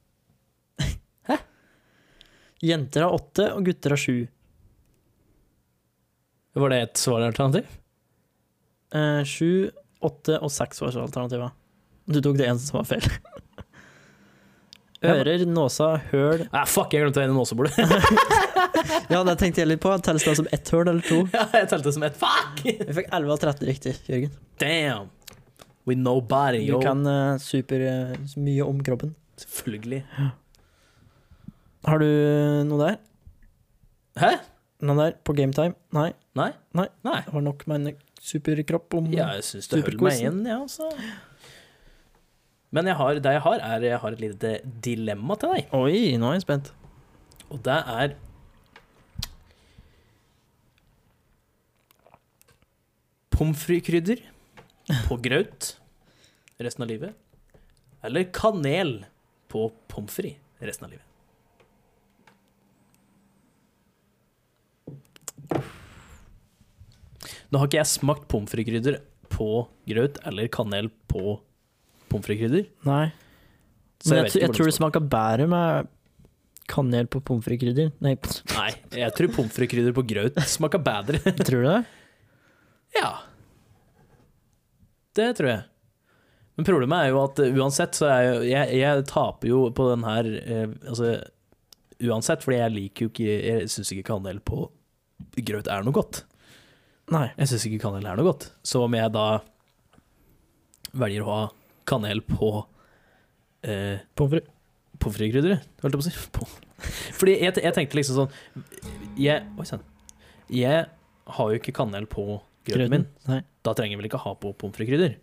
Jenter har åtte, og gutter har sju.
Var det et svaralternativ?
Eh, sju, åtte og seks var alternativet. Du tok det eneste som var feil. Ører, nåsa, høl
Ah, fuck, jeg glemte å ha en nåsebor.
Ja, det tenkte jeg litt på. Telles det som ett høl eller to?
Ja, jeg telte som ett. Fuck!
Vi fikk 11 av 13 riktig, Jørgen.
Damn! We nobody,
Du
yo.
kan eh, super eh, mye om kroppen.
Selvfølgelig.
Har du eh, noe der?
Hæ?
Noe der på gametime? Nei.
Nei?
Nei.
Nei.
Det var nok med en superkropp om
Ja, jeg syns det holder meg
Superquizen.
igjen, jeg, ja, altså. Men jeg har, det jeg har, er jeg har et lite dilemma til deg.
Oi, nå er jeg spent.
Og det er Pommes frites-krydder på graut resten av livet. Eller kanel på pommes frites resten av livet. Nå har ikke jeg smakt pommes frites-krydder på graut eller kanel på pommes frites-krydder.
Nei.
så
Men jeg,
vet
tr-
ikke
jeg tror
hvordan
det smaker bedre med kanel på pommes frites-krydder. Nei,
Nei, jeg tror pommes frites-krydder på graut smaker bedre.
tror du det?
Ja. Det tror jeg. Men problemet er jo at eh, uansett så er jo jeg, jeg taper jo på den her eh, altså uansett, fordi jeg liker jo ikke Jeg syns ikke kanel på grøt er noe godt.
Nei.
Jeg syns ikke kanel er noe godt. Så om jeg da velger å ha kanel på eh,
Pommes frites.
Pommes frites-krydderet, holdt jeg på å si. På. Fordi jeg, jeg tenkte liksom sånn Jeg, oi, sann. jeg har jo ikke kanel på grøten min.
Nei.
Da trenger jeg vel ikke ha på pommes frites-krydder.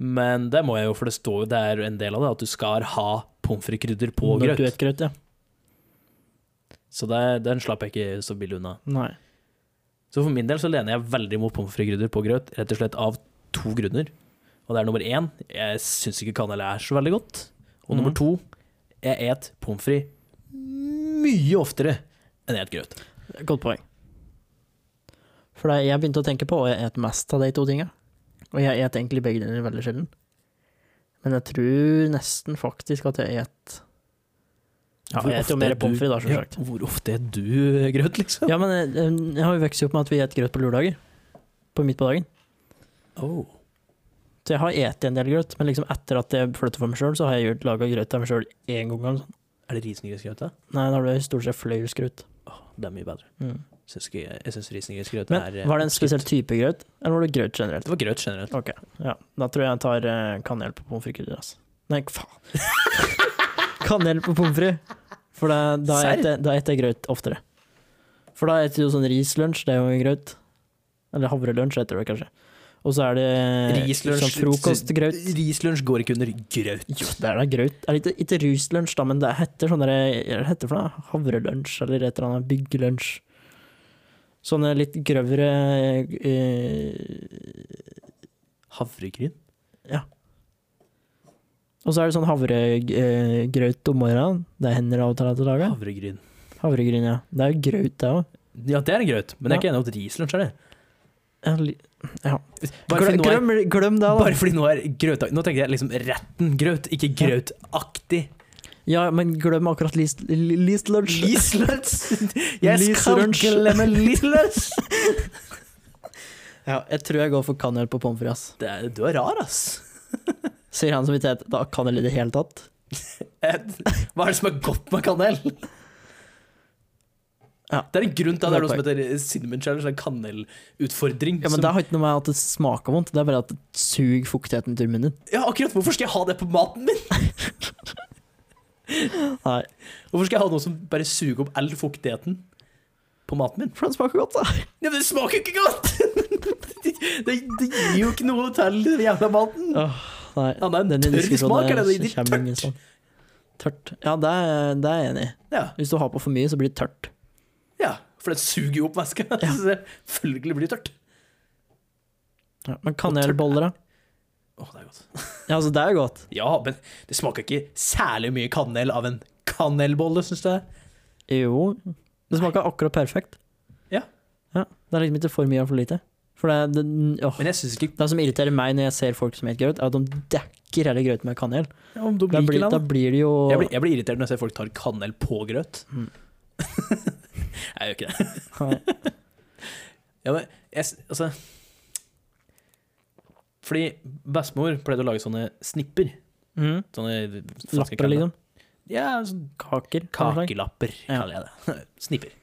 Men det må jeg jo, for det står jo det er jo en del av det, at du skal ha pommes frites-krydder på
Når
grøt.
Du et grøt, ja.
Så det, den slapp jeg ikke så billig unna.
Nei.
Så for min del så lener jeg veldig mot pommes frites-krydder på grøt, rett og slett av to grunner. Og det er nummer én, jeg syns ikke kanel er så veldig godt. Og nummer
Mhm.
to, jeg et pommes frites mye oftere enn jeg et grøt.
Godt poeng. For det jeg begynte å tenke på, og jeg et mest av de to tinga. Og jeg et egentlig begge deler veldig sjelden. Men jeg tror nesten faktisk at jeg et Ja, jeg et jo
ofte
mer
et
pommes
du-
frites, da, selvsagt.
Ja, hvor ofte et du eh, grøt, liksom?
Ja, men eh, jeg har jo vokst opp med at vi et grøt på lørdager. På midt på dagen.
Oh.
Så jeg har et en del grøt, men liksom etter at jeg flytta for meg sjøl, så har jeg laga grøt til meg sjøl én gang. eller sånn.
Er det risengrynsgrøt, da?
Nei, da ble det stort sett fløyelsgrøt.
Åh, det er mye bedre.
Mm.
Syns ikke, jeg syns risengrynsgrøt
Men
er eh,
var det en
oppskrytt.
spesiell type grøt, eller var det grøt generelt?
Det var grøt generelt.
Ok, ja. Da tror jeg jeg tar eh, kanel på pommes frites. Altså. Nei, faen. kanel på pommes frites. For da- da
Serr?
spiser jeg da eter jeg grøt oftere. For da spiser du sånn rislunsj, det er jo grøt. Eller havrelunsj heter det kanskje. Og så er det
Rislunsj-
sånn frokostgrøt.
Rislunsj går ikke under grøt.
Jo, det er da graut. Er det ikke, ikke ruslunsj, da, men det heter sånn derre Hva heter det for noe? Havrelunsj, eller et eller annet byggelunsj. Sånne litt grøvere eh,
Havregryn?
Og så er det sånn havregrøt om morgenen. Det hender av og til at det lager.
Havregryn.
Havregryn, ja. Det er jo graut, det òg.
Ja, det er en grøt, men jeg er ikke enig i at rislunsj er det.
Ja, li-
Bare fordi,
Glem,
nå er,
glem, glem det, da.
bare fordi nå er grøtak... Nå tenkte jeg liksom retten grøt, ikke grøtaktig.
Ja, men glem akkurat list, li- list lunsj.
Rislunsj! Jeg skal
Rislunsj.
glemme rislunsj!
Ja, jeg tror jeg går for kanel på pommes frites. ass.
Det er- Du er rar, ass.
Sier han som ikke heter da kanel i det hele tatt.
Et- Eh, Hva er det som er godt med kanel?
Ja.
Det er en grunn til at det er noe som heter eh, cinnamon challenge, en kanelutfordring.
Ja, men
som-
Det har ikke noe med at det smaker vondt, det er bare at det suger fuktigheten til munnen.
ja, akkurat. Hvorfor skal jeg ha det på maten min?
Nei,
Hvorfor skal jeg ha noe som bare suger opp all fuktigheten på maten min?
For den smaker godt, da.
Ja, men det smaker jo ikke godt! det, det gir jo ikke noe til den jævla maten.
Nei,
Ja, det er en
denne
tørr
diskusjonen
smak,
her
eller? Det gir
kommer
tørt.
ingen sånn. Tørt. Ja, det er, det er jeg enig i.
Ja,
Hvis du har på for mye, så blir det tørt.
ja for det suger jo opp væska. Ja. Selvfølgelig blir det tørt.
Ja, men kanelboller, da?
Å, det er godt.
Ja, altså, det er jo godt.
Ja, men det smaker ikke særlig mye kanel av en kanelbolle, syns jeg.
Jo. Det smaker akkurat perfekt.
Ja.
ja. Det er liksom ikke for mye og for lite. For det, det, åh.
Men jeg syns ikke
det som irriterer meg når jeg ser folk som spiser grøt, er at de dekker hele grøten med kanel.
ja, om de
Da
liker
blir,
den,
da
da.
blir det jo
Jeg blir, jeg blir irritert når jeg ser folk tar kanel på grøt.
Mm.
jeg gjør ikke det.
Nei.
Ja, men jeg, s- altså Fordi bestemor pleide å lage sånne snipper.
Mm.
Sånne
Lapper, liksom.
Ja, sånn
Kaker. kanskje.
Kakelapper,
Ja.
kaller jeg det. Snipper.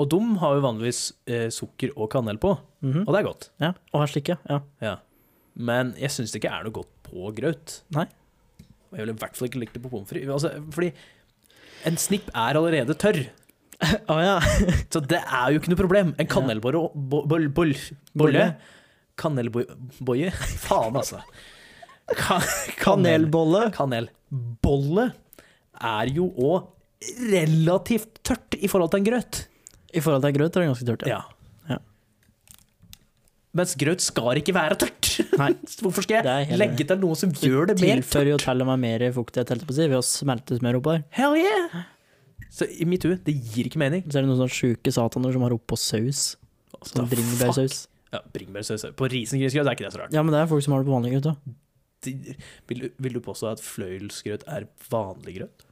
Og de har jo vanligvis eh, sukker og kanel på,
Mhm.
og det er godt.
Ja, og her slikker, ja.
Ja. Men jeg syns det ikke er noe godt på grøt.
Nei.
Og jeg ville i hvert fall ikke likt det på pommes frites. Altså, fordi en snipp er allerede tørr,
Å ja.
så det er jo ikke noe problem. En kanelbolle bo, bol, bol, Bolle? Kanelboie? Faen, altså. Ka kanel,
Kanelbolle.
kanelbolle er jo òg relativt tørt i forhold til en grøt.
I forhold til grøt er det ganske tørt, ja.
Ja.
Ja.
Mens grøt skal ikke være tørt.
Nei,
Hvorfor skal
Det er jeg
jeg
helt
legge
enig.
til noe som gjør det mer tørt?
Tilfører jo til og med mer fuktighet helt på å si, ved å smelte smør oppå der.
Hell yeah! Så i mitt hue, det gir ikke mening.
Så er det noen sånne sjuke sataner som har oppå saus. Sånn
Fuck.
bringebærsaus.
Ja, bringebærsaus. På risengrynsgrøt er ikke det så rart.
Ja, men det er folk som har det på vanlig grøt, da.
De- Vil, du- vil du påstå at fløyelsgrøt er vanlig grøt?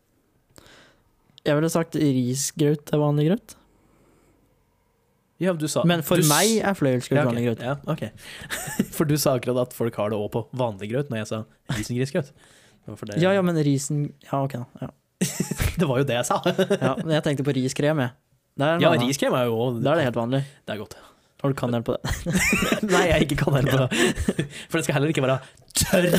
Jeg ville sagt risgrøt er vanlig grøt.
Ja, du sa
Men for
du s-
meg er fløyelsgrøt
ja, ok.
vanlig grøt.
Ja, ok. For du sa akkurat at folk har det òg på vanlig grøt, når jeg sa risengrynsgrøt. Det var for det-
Ja ja, men risen Ja, ok, da. Ja.
Det var jo det jeg sa.
Ja, men jeg tenkte på riskrem, jeg. Det er, en
Ja,
annen.
riskrem er jo
Da er det helt vanlig.
Det er godt.
Har du kanel på det?
Nei, jeg ikke kan heller på det. For den skal heller ikke være tørr.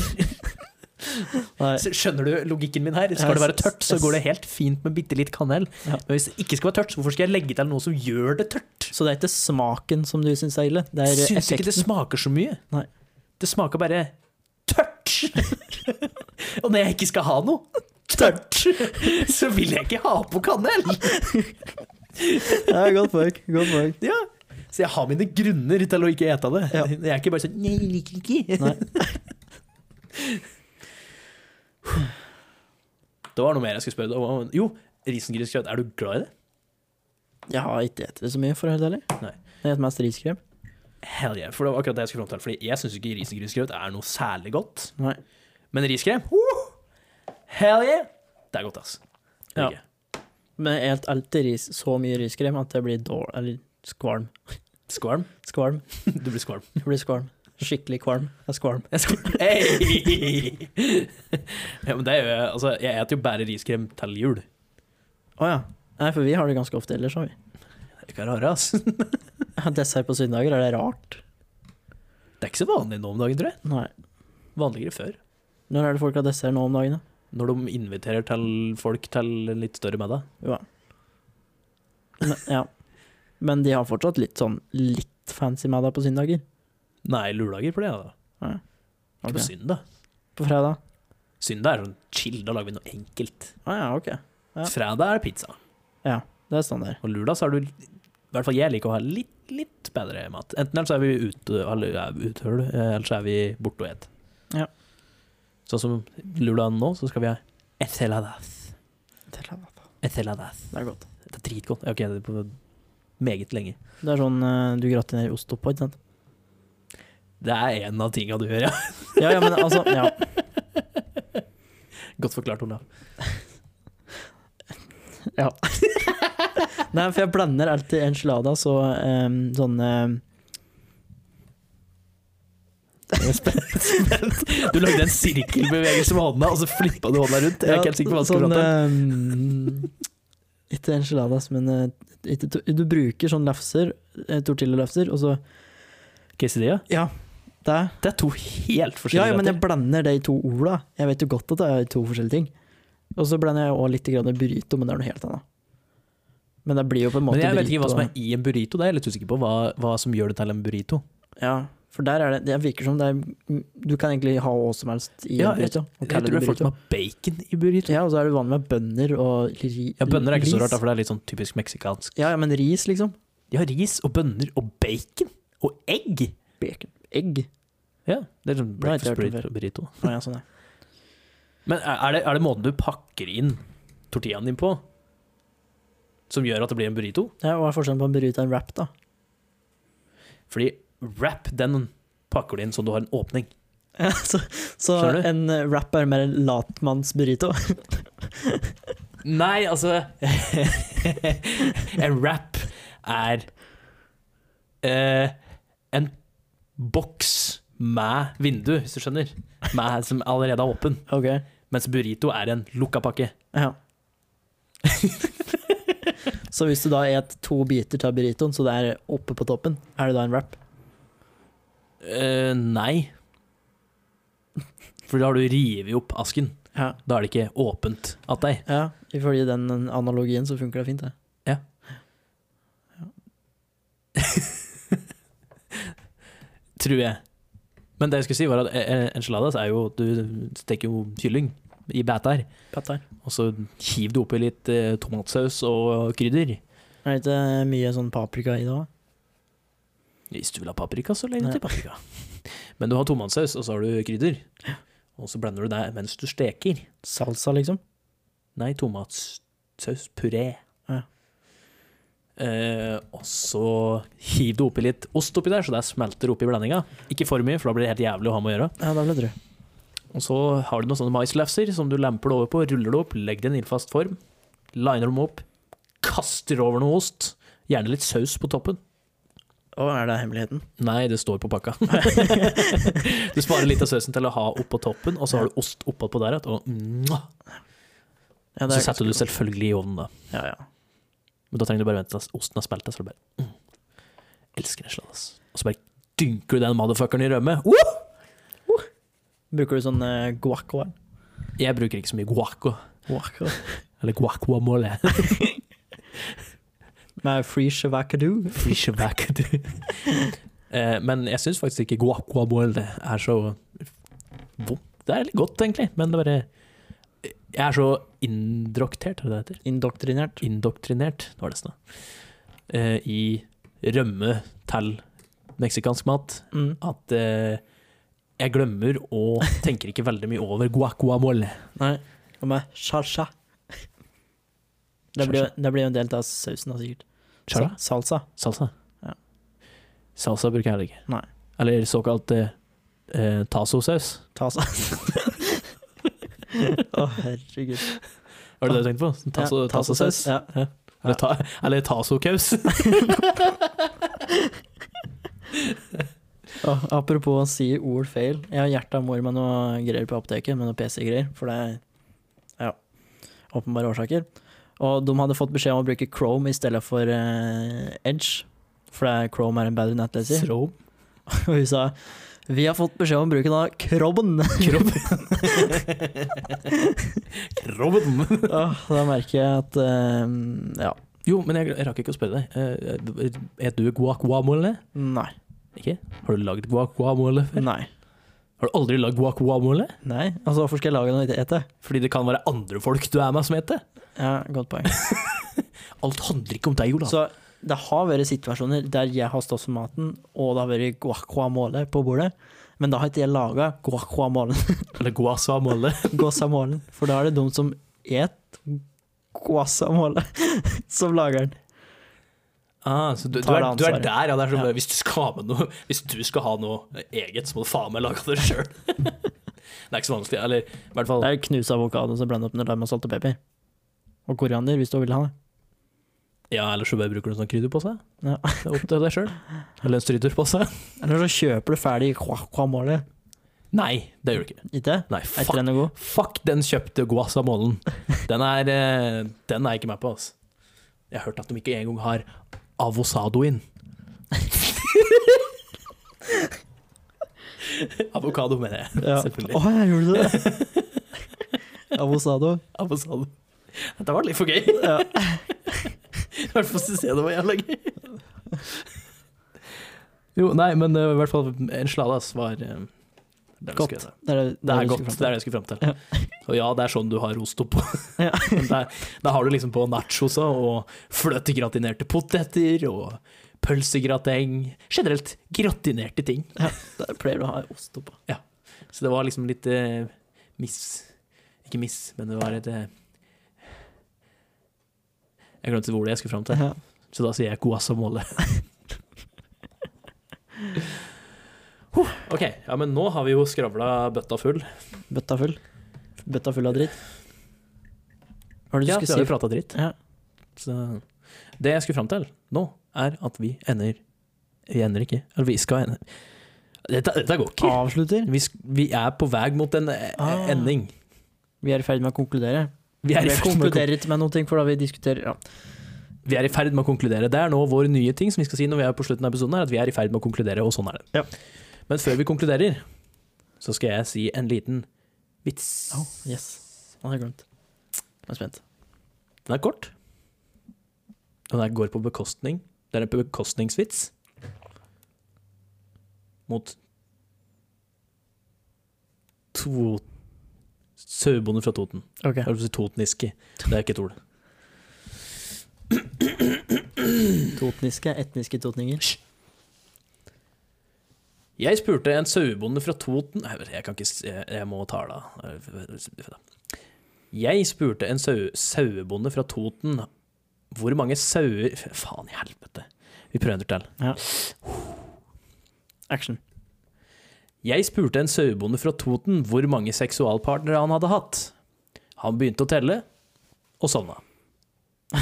Nei.
Så Skjønner du logikken min her? Skal det være tørt, så går det helt fint med bitte litt kanel.
Ja.
Men hvis det ikke skal være tørt, så hvorfor skal jeg legge til noe som gjør det tørt?
Så det er ikke smaken som du syns er ille, det er
Jeg syns
effekten.
ikke det smaker så mye.
Nei.
Det smaker bare tørt. Og når jeg ikke skal ha noe tørt, så vil jeg ikke ha på kanel.
Ja, godt poeng. Godt poeng.
Ja. Så jeg har mine grunner til å ikke ete det.
Ja.
Jeg er ikke bare sånn Nei, jeg liker ikke.
Nei.
Det var noe mer jeg skulle spørre deg om. Jo, risengrynsgrøt. Er du glad i det?
Jeg har ikke spist det så mye, for å være helt ærlig.
Nei.
Jeg spiser mest riskrem.
Hell yeah. For det var akkurat det jeg skulle fram til. Fordi jeg syns ikke risengrynsgrøt er noe særlig godt.
Nei.
Men riskrem woo! Hell yeah! Det er godt, ass. Det er
Ja.
ikke.
Men jeg helt alltid ris, så mye riskrem at jeg blir dårlig Eller skvalm.
Skvalm.
Skvalm.
Du blir skvalm.
Jeg blir skvalm. Skikkelig kvalm. Jeg er skvalm.
Jeg er skvalm. Hey! ja, men det er jo, altså, jeg spiser jo bare riskrem til jul.
Å ja. Nei, for vi har det ganske ofte ellers, har vi.
Det er ikke rare, ass. Det
Dessert på søndager, er det rart?
er ikke så vanlig nå om dagen, tror jeg.
Nei.
Vanligere før.
Når er det folk har dessert nå om dagen, da?
Når de inviterer til folk til en litt større middag.
Jo. da. Men, ja. Men de har fortsatt litt sånn litt fancy middag på søndager.
Nei, lørdager for det, da. Ikke på
Ok.
søndag.
På fredag?
Søndag er sånn chill, da lager vi noe enkelt.
Å ja, ok. Ja.
Fredag er pizza.
Det er standard.
Og lørdag så er du I hvert fall jeg liker å ha litt, litt bedre mat. Enten eller så er vi ute, eller er vi ute, hører du, eh, eller så er vi borte og et.
Ja.
Sånn som lørdagen nå, så skal vi ha eteladas.
Det er
Eteladas.
godt.
Det er dritgodt. Ja, Ok, det er på meget lenge.
Det er sånn eh, du gratinerer ost oppå, ikke sant?
Det er en av tinga du gjør, ja.
Ja, ja, men altså Ja.
Godt forklart, Olav.
Nei, for jeg blander alltid enchiladas og um, sånne
Du lagde en sirkelbevegelse med hånda, og så flippa du hånda rundt. Jeg er ikke helt sikker på hva du skal
sånn,
prate om.
eh, Ikke enchiladas, men eh, ikke, to- du bruker sånn lefser, eh, tortillalefser, og så
Quesadilla?
Ja, det er
Det er to helt
Ja,
forskjellige
ja, men jeg
retter.
blander de to orda. Jeg vet jo godt at det er to forskjellige ting. Og så blander jeg òg litt grann burrito, men det er noe helt annet. Men det blir jo på en måte
Men jeg vet ikke hva
burrito,
som er i en burrito. Det er jeg litt usikker på. Hva, hva som gjør det til en burrito.
Ja, for der er det Det virker som det er mm, Du kan egentlig ha hva som helst i
Ja,
en burrito. og
Jeg
kalle
tror det er folk som har bacon i burrito.
Ja, og så er du vant med bønner og ri-
Ja, Bønner er ikke så rart,
ris.
da, for det er litt sånn typisk meksikansk.
Ja, ja, men ris, liksom.
De har ris og bønner og bacon og egg.
Bacon. Egg.
Ja, det er sånn
Det har jeg ikke
breakfast
hørt
burrito.
om
burrito.
Å, ja, sånn, ja.
Men er er det, er det måten du pakker inn tortillaen din på, som gjør at det blir en burrito?
ja, og hva er forskjellen på en burrito og en wrap, da?
Fordi wrap, den pakker du inn sånn du har en åpning.
Ja, så så
Skjønner du?
en eh, wrap er mer en latmannsburrito.
Nei, altså En wrap er eh, en boks med vindu, hvis du skjønner. Med, som allerede er åpen.
Ok.
Mens burrito er en lukka pakke.
Ja. så hvis du da et to biter av burritoen, så det er oppe på toppen, er det da en wrap?
Eh, nei. For da har du revet opp asken.
Ja.
Da er det ikke åpent at deg.
ja. Ifølge den analogien så funker det fint, det.
Tror jeg. Men det jeg skulle si, var at eh, enchiladas er jo Du steker jo kylling i bæter.
Patter.
Og så hiver du oppi litt eh, tomatsaus og krydder.
Er det ikke mye sånn paprika i det òg?
Hvis du vil ha paprika, så legg
Ja.
det til paprika. Men du har tomatsaus, og så har du krydder. Og så blander du det mens du steker.
Salsa, liksom?
Nei, tomatsauspuré.
Ja.
Eh, og så hiv du oppi litt ost oppi der, så det smelter oppi blandinga. Ikke for mye, for da blir det helt jævlig å ha med å gjøre.
Ja, da ble det rød.
Og så har du noen sånne maislefser som du lemper det over på, ruller det opp, legger det i en ildfast form, liner dem opp, kaster over noe ost, gjerne litt saus på toppen.
Å, er det hemmeligheten?
Nei, det står på pakka. du sparer litt av sausen til å ha oppå toppen, og så har du ost oppå der igjen. Og,
Ja, det er
så setter du
ganske
selvfølgelig i ovnen, da.
godt. Ja, ja.
Men da trenger du bare vente til osten har smelta, så du bare mm. Elsker den sladd, ass. Og så bare dynker du den motherfuckeren i rømme. Woo!
Bruker du sånn uh, guaco?
Jeg bruker ikke så mye guaco.
guaco.
Eller guacamole.
Med free shavacadoo?
Fish back, du. Eh, Men jeg syns faktisk ikke guacamole er så vondt. Det er litt godt, egentlig, men det bare eh, Jeg er så indroktert, er det det heter?
Indoktrinert.
Indoktrinert, det var det sånn. eh, I rømme til meksikansk mat
Mm.
at eh, jeg glemmer og tenker ikke veldig mye over guacamole.
Nei. Hva med salsa? Det blir, jo- det blir jo en del av sausen, da, sikkert.
Chara?
Sa- Salsa.
Salsa?
Ja.
Salsa bruker jeg heller ikke.
Nei.
Eller såkalt eh, eh, tasosaus.
Tasa. Å, herregud.
Var det det du tenkte på? Tasso,
Ja,
tassosaus?
Ja.
Eller, ta, eller tasokaus?
Å, Ah, apropos å si ord feil. Jeg har hjertet av mor med noe greier på apoteket, med noe PC-greier, for det er ja, åpenbare årsaker. Og de hadde fått beskjed om å bruke Chrome i stedet for eh, Edge, for det er Chrome er en bedre nettleser.
Krob.
Og hun sa vi har fått beskjed om bruken av Krobben.
Krob. Krobben.
Åh, Ah, da merker jeg at eh, Ja.
Jo, men jeg, jeg rakk ikke å spørre deg. Eh, Er du guacamole?
Nei.
Ikke? Har du lagd guacamole før?
Nei.
Har du aldri lagd guacamole?
Nei. Altså, hvorfor skal jeg lage noe jeg ikke eter?
Fordi det kan være andre folk du er med som heter.
Ja, godt poeng.
Alt handler ikke om deg, Ola.
Så det har vært situasjoner der jeg har stått for maten, og det har vært guacamole på bordet. Men da har ikke jeg laga guacamole,
Eller guacamole.
guacamole. For da er det de som et guacamole, som lager den.
Ah, så du, du,
Tar
er, du
det
er
ansvaret.
der, ja. Det er som,
Ja.
Hvis, du skal ha med noe, hvis du skal ha noe eget, så må du faen meg lage det sjøl. det er ikke så vanskelig. Eller i hvert fall
Det er knust avokado som blander opp med lime og salt og pepper. Og koriander, hvis du vil ha det.
Ja, eller så bare bruker du sånn krydder på seg.
Ja.
Det er opp til deg sjøl. Eller en stryter på seg.
Eller så kjøper du ferdig guacamole.
Nei, det gjør du ikke.
Ikke?
Nei,
Er ikke
fuck,
den god?
fuck den kjøpte guacamolen. Den er, eh, den er jeg ikke med på, altså. Jeg har hørt at de ikke engang har avosadoin. Avokado, mener jeg.
Ja.
Selvfølgelig.
Å, jeg gjorde det! Avosado.
Avosado. Dette var litt for gøy.
Ja.
I hvert fall syns jeg det var jævla gøy. Jo, nei, men eh, i hvert fall enchiladas var eh, det,
Godt.
godt. Si.
Det er, det,
det
vi
er
skulle
godt.
fram
Det
til.
er det jeg skulle fram til. Og ja, det er sånn du har ost oppå.
Ja.
Men der- Da har du liksom på nachosa og fløtegratinerte poteter og pølsegrateng. Generelt gratinerte ting.
Der pleier du å ha ost oppå.
Så det var liksom litt eh, miss Ikke miss, men det var et eh, Jeg glemte hvor det jeg skulle fram til.
Ja.
Så da sier jeg guacamole. huh, ok, ja, men nå har vi jo skravla bøtta full.
Bøtta full. Bøtta full av dritt. Hva er
Ja,
det du
vi har
skulle
jo
si?
prata dritt.
Ja.
Så det jeg skulle fram til nå, er at vi ender Vi ender ikke. Eller vi skal ende Dette, dette går ikke.
Avslutter.
Vi, sk- vi er på vei mot en eh,
Ah.
ending.
Vi er i ferd med å konkludere.
Vi er, i
Vi
ferd med å
konkluderer ikke med noen ting, for da vi diskuterer ja.
kon- vi er i ferd med å konkludere. Det er nå vår nye ting som vi skal si når vi er på slutten av episoden, er at vi er i ferd med å konkludere, og sånn er det.
Ja.
Men før vi konkluderer, så skal jeg si en liten vits.
Oh, yes. Nå har jeg glemt. Jeg er spent.
Den er kort. Og den går på bekostning. Det er en bekostningsvits. Mot to sauebonde fra Toten.
Ok.
Jeg holdt på å si totniske. Det er ikke et ord.
Totniske, etniske totninger.
Jeg spurte en sauebonde fra Toten Nei, jeg kan ikke s- Jeg, jeg må ta det av. Jeg spurte en sau, sauebonde fra Toten hvor mange sauer Faen i helvete. Vi prøver til.
Action.
Jeg spurte en sauebonde fra Toten hvor mange seksualpartnere han hadde hatt. Han begynte å telle, og sovna.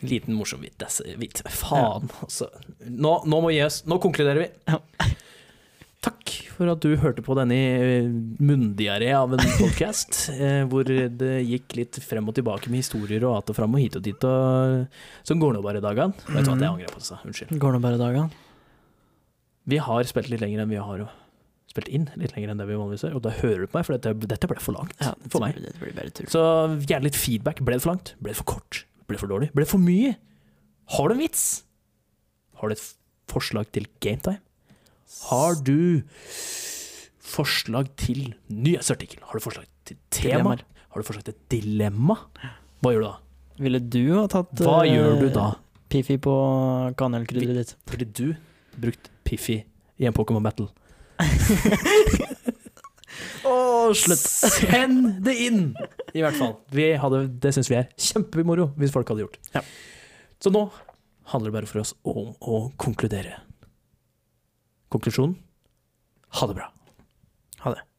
Liten morsom vits. ass. Vits. Faen, altså. Nå, nå må vi gi oss. Nå konkluderer vi. Takk for at du hørte på denne eh, munndiaré av en podcast, eh, hvor det gikk litt frem og tilbake med historier og at og fram og hit og dit, og, som går nå bare i dagene. Vet du hva, det angrer jeg på, sa. Unnskyld.
Går nå bare dagene.
Vi har spilt litt lenger enn vi har spilt inn, litt lenger enn det vi vanligvis gjør, og da hører du på meg, for dette, dette ble for langt
Ja,
for meg.
Det blir bare tull.
Så gjerne litt feedback. Ble det for langt? Ble det for kort? Ble det for dårlig? Ble det for mye? Har du en vits? Har du et forslag til gametime? Har du forslag til nyhetsartikkel? Har du forslag til tema?
Dilemmaer.
Har du forslag til dilemma? Hva gjør du da?
Ville du ha tatt
Hva
eh,
gjør du da?
Piffi på kanelkrydderet ditt?
Ville du brukt Piffi i en Pokémon Battle?
Åh,
Send det inn! I hvert fall. Vi hadde, det syns vi er kjempemoro hvis folk hadde gjort.
Ja.
Så nå handler det bare for oss om å konkludere. Konklusjonen? Ha det bra.
Ha det.